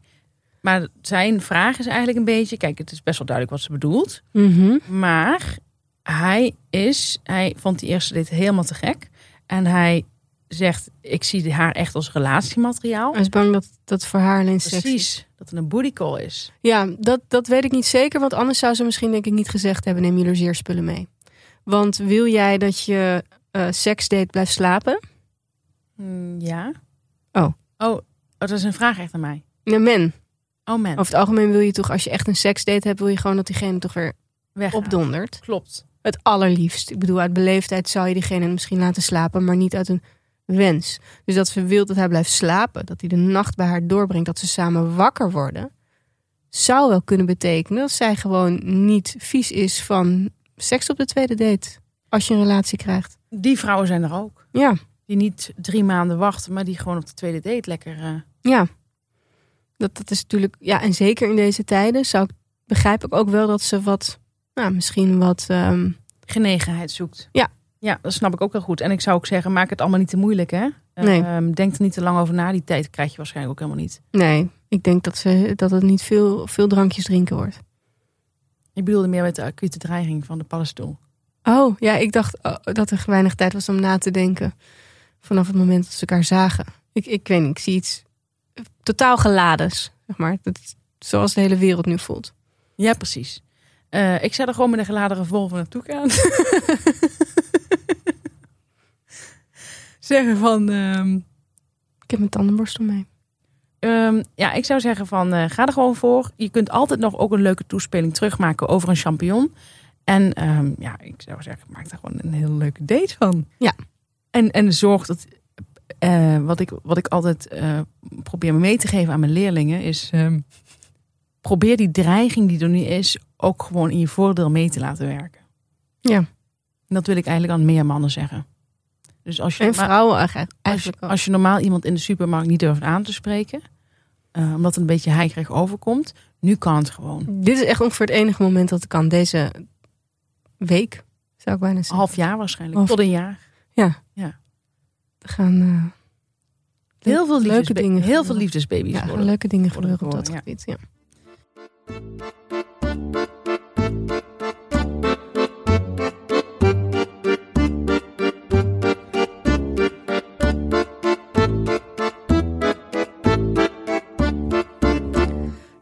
[SPEAKER 1] Maar zijn vraag is eigenlijk een beetje... Kijk, het is best wel duidelijk wat ze bedoelt. Maar hij is... Hij vond die eerste dit helemaal te gek. En hij zegt, ik zie haar echt als relatiemateriaal.
[SPEAKER 4] Hij is bang dat dat voor haar alleen seks is.
[SPEAKER 1] Precies, dat het een bodycall is.
[SPEAKER 4] Ja, dat, dat weet ik niet zeker. Want anders zou ze misschien denk ik niet gezegd hebben... neem je logeerspullen mee. Want wil jij dat je eh seksdate blijft slapen?
[SPEAKER 1] Mm, ja.
[SPEAKER 4] Oh.
[SPEAKER 1] oh. oh, dat is een vraag echt aan mij.
[SPEAKER 4] Nee, men.
[SPEAKER 1] Oh man,
[SPEAKER 4] Over het algemeen wil je toch... als je echt een seksdate hebt... wil je gewoon dat diegene toch weer
[SPEAKER 1] weg.
[SPEAKER 4] opdondert.
[SPEAKER 1] Klopt.
[SPEAKER 4] Het allerliefst. Ik bedoel, uit beleefdheid zou je diegene misschien laten slapen... maar niet uit een wens. Dus dat ze wil dat hij blijft slapen... dat hij de nacht bij haar doorbrengt... dat ze samen wakker worden... zou wel kunnen betekenen... dat zij gewoon niet vies is van seks op de tweede date... als je een relatie krijgt.
[SPEAKER 1] Die vrouwen zijn er ook.
[SPEAKER 4] Ja,
[SPEAKER 1] Die niet drie maanden wachten, maar die gewoon op de tweede date lekker. eh,
[SPEAKER 4] ja. Dat, dat is natuurlijk... Ja, en zeker in deze tijden zou ik, begrijp ik ook wel dat ze wat... Nou, misschien wat... ehm,
[SPEAKER 1] genegenheid zoekt.
[SPEAKER 4] Ja.
[SPEAKER 1] Ja, dat snap ik ook heel goed. En ik zou ook zeggen, maak het allemaal niet te moeilijk, hè? Eh,
[SPEAKER 4] Nee.
[SPEAKER 1] ehm, denk er niet te lang over na. Die tijd krijg je waarschijnlijk ook helemaal niet.
[SPEAKER 4] nee, ik denk dat, ze, dat het niet veel, veel drankjes drinken wordt.
[SPEAKER 1] Ik bedoelde meer met de acute dreiging van de paddenstoel.
[SPEAKER 4] Oh, ja, ik dacht oh, dat er weinig tijd was om na te denken. Vanaf het moment dat ze elkaar zagen. Ik, ik weet niet, ik zie iets totaal geladens, zeg maar. Dat is zoals de hele wereld nu voelt.
[SPEAKER 1] Ja, precies. Eh, ik zou er gewoon met een geladere Volvo naartoe gaan. *laughs* Zeggen van... ehm,
[SPEAKER 4] Ik heb mijn tandenborstel mee.
[SPEAKER 1] Ehm, ja, ik zou zeggen van eh, ga er gewoon voor. Je kunt altijd nog ook een leuke toespeling terugmaken over een champignon. En ehm, ja, ik zou zeggen, maak daar gewoon een heel leuke date van.
[SPEAKER 4] Ja.
[SPEAKER 1] En, en zorg dat. eh, wat, ik, wat ik altijd eh, probeer mee te geven aan mijn leerlingen is. ehm, probeer die dreiging die er nu is ook gewoon in je voordeel mee te laten werken.
[SPEAKER 4] Ja.
[SPEAKER 1] En dat wil ik eigenlijk aan meer mannen zeggen. Dus als je,
[SPEAKER 4] En
[SPEAKER 1] maar
[SPEAKER 4] vrouwen eigenlijk-
[SPEAKER 1] als, je,
[SPEAKER 4] eigenlijk ook.
[SPEAKER 1] als je normaal iemand in de supermarkt niet durft aan te spreken, eh, omdat het een beetje heigerig overkomt, nu kan het gewoon.
[SPEAKER 4] Dit is echt ongeveer het enige moment dat ik aan Deze week, zou ik bijna
[SPEAKER 1] Een
[SPEAKER 4] zeggen.
[SPEAKER 1] half jaar waarschijnlijk,
[SPEAKER 4] Half-
[SPEAKER 1] tot een jaar.
[SPEAKER 4] Er gaan, eh,
[SPEAKER 1] Oh. Heel veel,
[SPEAKER 4] leuke
[SPEAKER 1] liefdesba-
[SPEAKER 4] dingen
[SPEAKER 1] heel veel
[SPEAKER 4] gebeuren.
[SPEAKER 1] liefdesbaby's
[SPEAKER 4] ja, er gaan
[SPEAKER 1] worden.
[SPEAKER 4] leuke dingen
[SPEAKER 1] worden
[SPEAKER 4] gebeuren op dat
[SPEAKER 1] geboren,
[SPEAKER 4] gebied. Ja.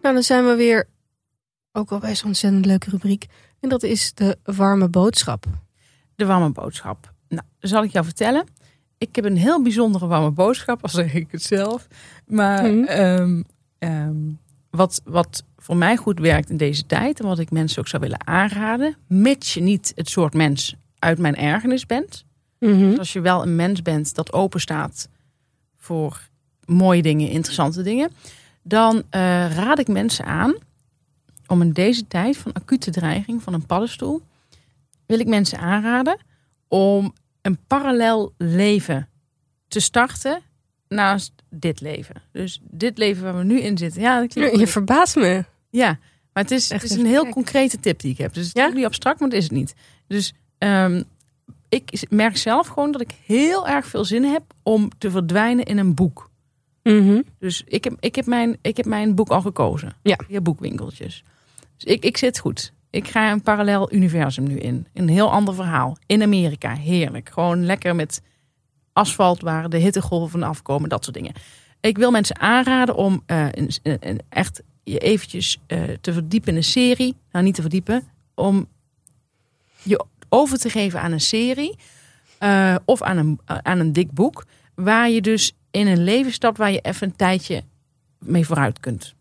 [SPEAKER 4] Nou, dan zijn we weer ook al bij zo'n ontzettend leuke rubriek. En dat is de warme boodschap.
[SPEAKER 1] De warme boodschap. Nou, zal ik jou vertellen. Ik heb een heel bijzondere warme boodschap, *laughs* al zeg ik het zelf. Maar
[SPEAKER 4] Mhm.
[SPEAKER 1] ehm, ehm, wat, wat voor mij goed werkt in deze tijd en wat ik mensen ook zou willen aanraden, mits je niet het soort mens uit mijn ergernis bent.
[SPEAKER 4] Mhm.
[SPEAKER 1] Dus als je wel een mens bent dat open staat voor mooie dingen, interessante dingen, dan eh, raad ik mensen aan om in deze tijd van acute dreiging van een paddenstoel, wil ik mensen aanraden om een parallel leven te starten naast dit leven. Dus dit leven waar we nu in zitten. Ja, dat klinkt
[SPEAKER 4] Je verbaast me.
[SPEAKER 1] ja, maar het is,
[SPEAKER 4] Echt
[SPEAKER 1] het is
[SPEAKER 4] even
[SPEAKER 1] een heel
[SPEAKER 4] gek.
[SPEAKER 1] concrete tip die ik heb. Dus het
[SPEAKER 4] Ja?
[SPEAKER 1] is niet abstract, maar dat is het niet. Dus ehm, ik is- merk zelf gewoon dat ik heel erg veel zin heb om te verdwijnen in een boek. Dus ik heb, ik heb, mijn, ik heb mijn boek al gekozen.
[SPEAKER 4] Ja.
[SPEAKER 1] Via boekwinkeltjes. Dus ik, ik zit goed. Ik ga een parallel universum nu in. Een heel ander verhaal. In Amerika. Heerlijk. Gewoon lekker met asfalt waar de hittegolven afkomen. Dat soort dingen. Ik wil mensen aanraden om eh, een, een- een- echt je eventjes eh, te verdiepen in een serie. Nou, niet te verdiepen. Om je over te geven aan een serie. eh, of aan een, aan een dik boek. Waar je dus in een leven stapt waar je even een tijdje mee vooruit kunt.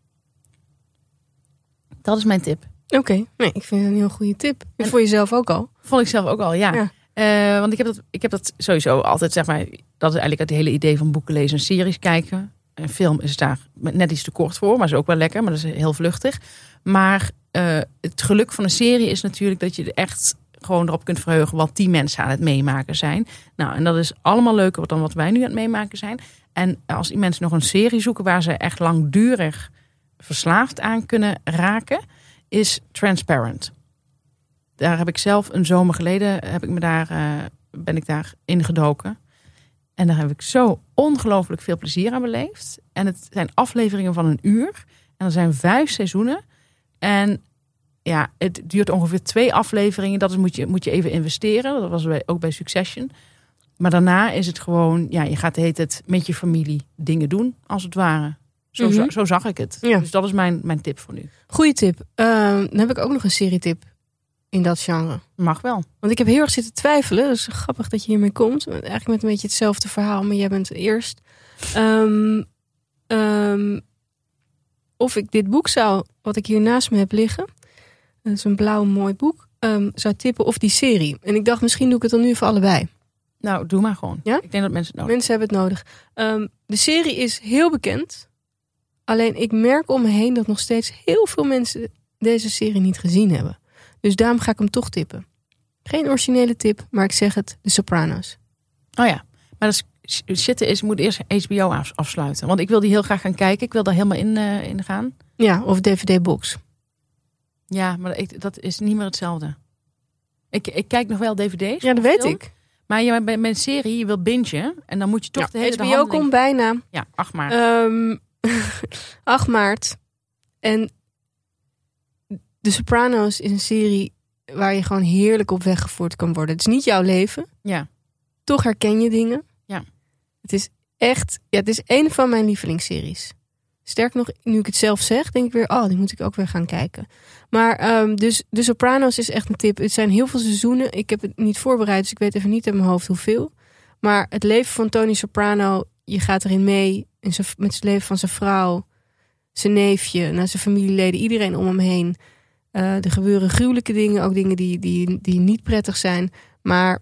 [SPEAKER 1] Dat is mijn tip.
[SPEAKER 4] Oké, nee, ik vind het een heel goede tip. En voor jezelf ook al.
[SPEAKER 1] Vond ik zelf ook al, ja.
[SPEAKER 4] Ja.
[SPEAKER 1] Eh, want ik heb, dat, ik heb dat sowieso altijd, zeg maar, dat is eigenlijk het hele idee van boeken lezen en series kijken. Een film is daar net iets te kort voor, maar is ook wel lekker, maar dat is heel vluchtig. Maar eh, het geluk van een serie is natuurlijk dat je er echt gewoon erop kunt verheugen wat die mensen aan het meemaken zijn. Nou, en dat is allemaal leuker dan wat wij nu aan het meemaken zijn. En als die mensen nog een serie zoeken waar ze echt langdurig verslaafd aan kunnen raken, is Transparent. Daar heb ik zelf een zomer geleden heb ik me daar, eh, ben ik daar ingedoken. En daar heb ik zo ongelooflijk veel plezier aan beleefd. En het zijn afleveringen van een uur. En er zijn vijf seizoenen. En ja, het duurt ongeveer twee afleveringen. Dat is, moet, je, moet je even investeren. Dat was bij, ook bij Succession. Maar daarna is het gewoon, ja, je gaat heet het met je familie dingen doen, als het ware. Zo,
[SPEAKER 4] Mhm.
[SPEAKER 1] za- zo zag ik het.
[SPEAKER 4] Ja.
[SPEAKER 1] Dus dat is mijn, mijn tip voor nu.
[SPEAKER 4] Goeie tip. Ehm, dan heb ik ook nog een serietip in dat genre.
[SPEAKER 1] Mag wel.
[SPEAKER 4] Want ik heb heel erg zitten twijfelen. Dus grappig dat je hiermee komt. Met- Eigenlijk met een beetje hetzelfde verhaal, maar jij bent eerst. Ehm, ehm, of ik dit boek zou, wat ik hier naast me heb liggen. Dat is een blauw mooi boek. ehm, zou tippen of die serie. En ik dacht, misschien doe ik het dan nu voor allebei.
[SPEAKER 1] Nou, doe maar gewoon.
[SPEAKER 4] Ja?
[SPEAKER 1] Ik denk dat mensen het nodig
[SPEAKER 4] Mensen hebben het nodig. Ehm, de serie is heel bekend. Alleen ik merk om me heen dat nog steeds heel veel mensen deze serie niet gezien hebben. Dus daarom ga ik hem toch tippen. Geen originele tip, maar ik zeg het: De Sopranos.
[SPEAKER 1] Oh ja, maar dat is, zitten is, moet eerst HBO af- afsluiten. Want ik wil die heel graag gaan kijken. Ik wil daar helemaal in, eh, in gaan.
[SPEAKER 4] Ja, of DVD-box.
[SPEAKER 1] Ja, maar ik, dat is niet meer hetzelfde. Ik, ik kijk nog wel dvd's.
[SPEAKER 4] Ja, dat weet
[SPEAKER 1] Film?
[SPEAKER 4] ik.
[SPEAKER 1] Maar je, bij mijn serie, je wil bingen. En dan moet je toch
[SPEAKER 4] Ja,
[SPEAKER 1] de hele de
[SPEAKER 4] HBO
[SPEAKER 1] handeling-
[SPEAKER 4] komt bijna.
[SPEAKER 1] Ja, ach maar.
[SPEAKER 4] Ehm *laughs* 8 maart. En De Sopranos is een serie waar je gewoon heerlijk op weggevoerd kan worden. Het is niet jouw leven.
[SPEAKER 1] ja.
[SPEAKER 4] toch herken je dingen.
[SPEAKER 1] Ja.
[SPEAKER 4] Het is echt, ja, het is een van mijn lievelingsseries. Sterk nog, nu ik het zelf zeg, denk ik weer, oh, die moet ik ook weer gaan kijken. Maar ehm, dus De Sopranos is echt een tip. Het zijn heel veel seizoenen. Ik heb het niet voorbereid, dus ik weet even niet uit mijn hoofd hoeveel. Maar het leven van Tony Soprano, je gaat erin mee. En zijn- met het leven van zijn vrouw, zijn neefje, nou, zijn familieleden, iedereen om hem heen. Eh, er gebeuren gruwelijke dingen, ook dingen die, die, die niet prettig zijn. Maar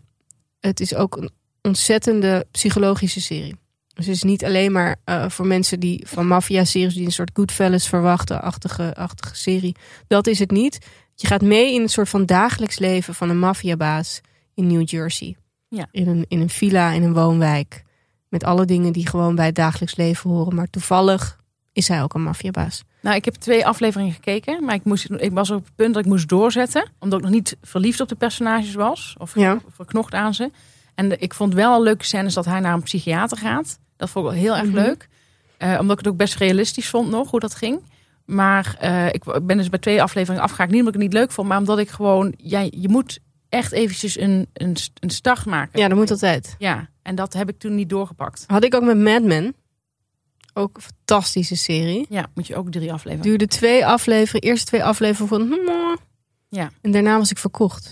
[SPEAKER 4] het is ook een ontzettende psychologische serie. Dus het is niet alleen maar eh, voor mensen die van maffia-series... die een soort Goodfellas verwachten, achtige, achtige serie. Dat is het niet. Je gaat mee in een soort van dagelijks leven van een maffiabaas in New Jersey.
[SPEAKER 1] Ja.
[SPEAKER 4] In, een, in een villa, in een woonwijk. Met alle dingen die gewoon bij het dagelijks leven horen. Maar toevallig is hij ook een maffiabaas.
[SPEAKER 1] Nou, ik heb twee afleveringen gekeken, maar ik, moest, ik was op het punt dat ik moest doorzetten. Omdat ik nog niet verliefd op de personages was. Of
[SPEAKER 4] Ja.
[SPEAKER 1] verknocht aan ze. En de- ik vond wel een leuke scènes dat hij naar een psychiater gaat. Dat vond ik wel heel erg
[SPEAKER 4] Mhm.
[SPEAKER 1] leuk. Eh, omdat ik het ook best realistisch vond nog, hoe dat ging. Maar eh, ik w- ben dus bij twee afleveringen afgehaakt. Niet omdat ik het niet leuk vond, maar omdat ik gewoon... Ja, je moet echt eventjes een, een, s- een start maken.
[SPEAKER 4] Ja, dat moet altijd.
[SPEAKER 1] Ja, en dat heb ik toen niet doorgepakt.
[SPEAKER 4] Had ik ook met Mad Men. Ook een fantastische serie.
[SPEAKER 1] Ja, moet je ook drie afleveringen.
[SPEAKER 4] Duurde twee afleveringen. Eerste twee afleveringen van... "Mwah."
[SPEAKER 1] Ja.
[SPEAKER 4] En daarna was ik verkocht.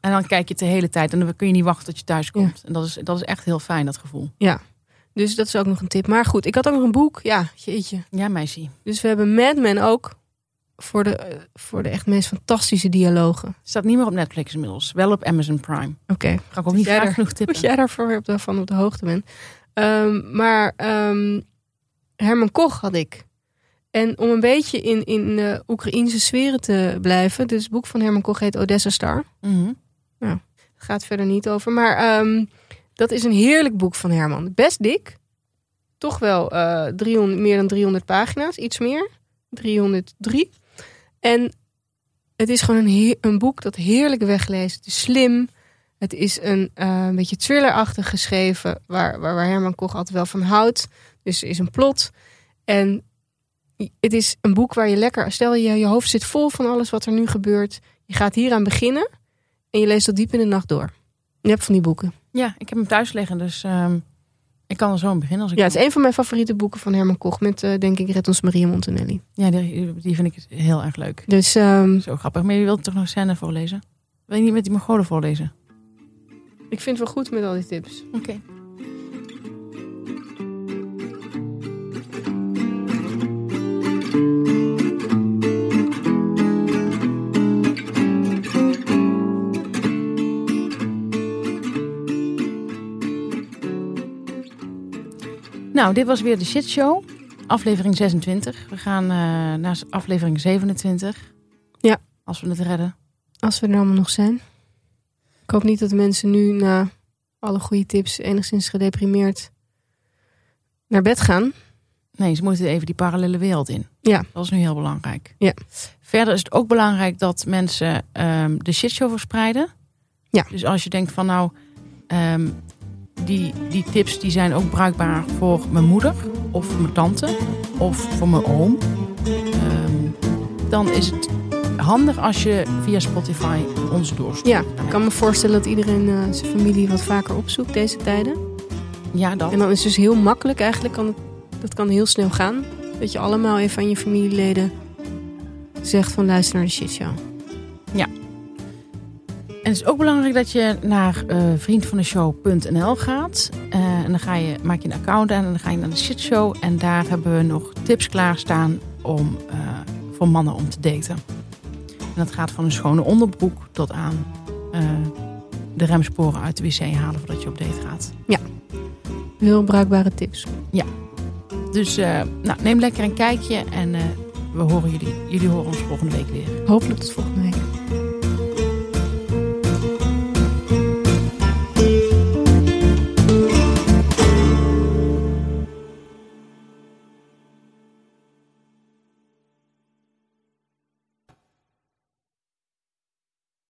[SPEAKER 1] En dan kijk je het de hele tijd en dan kun je niet wachten tot je thuis komt. En dat is, dat is echt heel fijn, dat gevoel.
[SPEAKER 4] Dus dat is ook nog een tip. Maar goed, ik had ook nog een boek. Ja, jeetje.
[SPEAKER 1] Ja, meisje.
[SPEAKER 4] Dus we hebben Mad Men ook voor de, eh, voor de echt meest fantastische dialogen.
[SPEAKER 1] Staat niet meer op Netflix inmiddels. Wel op Amazon Prime.
[SPEAKER 4] Oké.
[SPEAKER 1] Ga ik ook niet
[SPEAKER 4] Jij
[SPEAKER 1] vaak
[SPEAKER 4] er-
[SPEAKER 1] genoeg tippen.
[SPEAKER 4] Dat jij daarvoor op de, van op de hoogte bent. Ehm, maar ehm, Herman Koch had ik. En om een beetje in, in eh Oekraïnse sferen te blijven. Dus het boek van Herman Koch heet Odessa Star.
[SPEAKER 1] Mhm.
[SPEAKER 4] Gaat verder niet over. Maar ehm, dat is een heerlijk boek van Herman. Best dik. Toch wel eh, 300, meer dan 300 pagina's. Iets meer. 303. En het is gewoon een, heer- een boek dat heerlijk wegleest. Het is slim. Het is een eh, een beetje thrillerachtig geschreven. Waar, waar, waar Herman Koch altijd wel van houdt. Dus er is een plot. En het is een boek waar je lekker... Stel je, je hoofd zit vol van alles wat er nu gebeurt. Je gaat hieraan beginnen. En je leest dat diep in de nacht door. Je hebt van die boeken.
[SPEAKER 1] Ja, ik heb hem thuis liggen, dus ehm, ik kan er zo aan beginnen. Als ik
[SPEAKER 4] Ja, het is
[SPEAKER 1] wil.
[SPEAKER 4] een van mijn favoriete boeken van Herman Koch. Met, eh, denk ik, Red ons Maria Montanelli.
[SPEAKER 1] ja die, die vind ik heel erg leuk.
[SPEAKER 4] Dus ehm,
[SPEAKER 1] Zo grappig. Maar je wilt toch nog scène voorlezen? Wil je niet met die Mongolen voorlezen?
[SPEAKER 4] ik vind het wel goed met al die tips.
[SPEAKER 1] Oké. Nou, dit was weer de Shit Show. Aflevering 26. We gaan eh, naar aflevering 27.
[SPEAKER 4] Ja.
[SPEAKER 1] Als we het redden.
[SPEAKER 4] Als we er allemaal nog zijn. Ik hoop niet dat de mensen nu na alle goede tips enigszins gedeprimeerd naar bed gaan.
[SPEAKER 1] Nee, ze moeten even die parallele wereld in.
[SPEAKER 4] Ja.
[SPEAKER 1] Dat is nu heel belangrijk.
[SPEAKER 4] Ja.
[SPEAKER 1] Verder is het ook belangrijk dat mensen ehm, de shitshow verspreiden.
[SPEAKER 4] Ja.
[SPEAKER 1] Dus als je denkt van nou, ehm, die, die tips die zijn ook bruikbaar voor mijn moeder of voor mijn tante of voor mijn oom. ehm, dan is het handig als je via Spotify ons doorstuurt.
[SPEAKER 4] Ja, ik kan me voorstellen dat iedereen eh, zijn familie wat vaker opzoekt deze tijden.
[SPEAKER 1] Ja, dat.
[SPEAKER 4] En dan is het dus heel makkelijk eigenlijk. Kan het, dat kan heel snel gaan. Dat je allemaal even aan je familieleden zegt van luister naar de shit show.
[SPEAKER 1] En het is ook belangrijk dat je naar eh vriendvandeshow.nl gaat. Eh, en dan ga je, maak je een account aan en dan ga je naar de shitshow. En daar hebben we nog tips klaarstaan om, eh, voor mannen om te daten. En dat gaat van een schone onderbroek tot aan eh, de remsporen uit de wc halen voordat je op date gaat.
[SPEAKER 4] Heel bruikbare tips.
[SPEAKER 1] Dus eh, nou, neem lekker een kijkje en eh, we horen jullie. Jullie horen ons volgende week weer.
[SPEAKER 4] Hopelijk tot volgende week.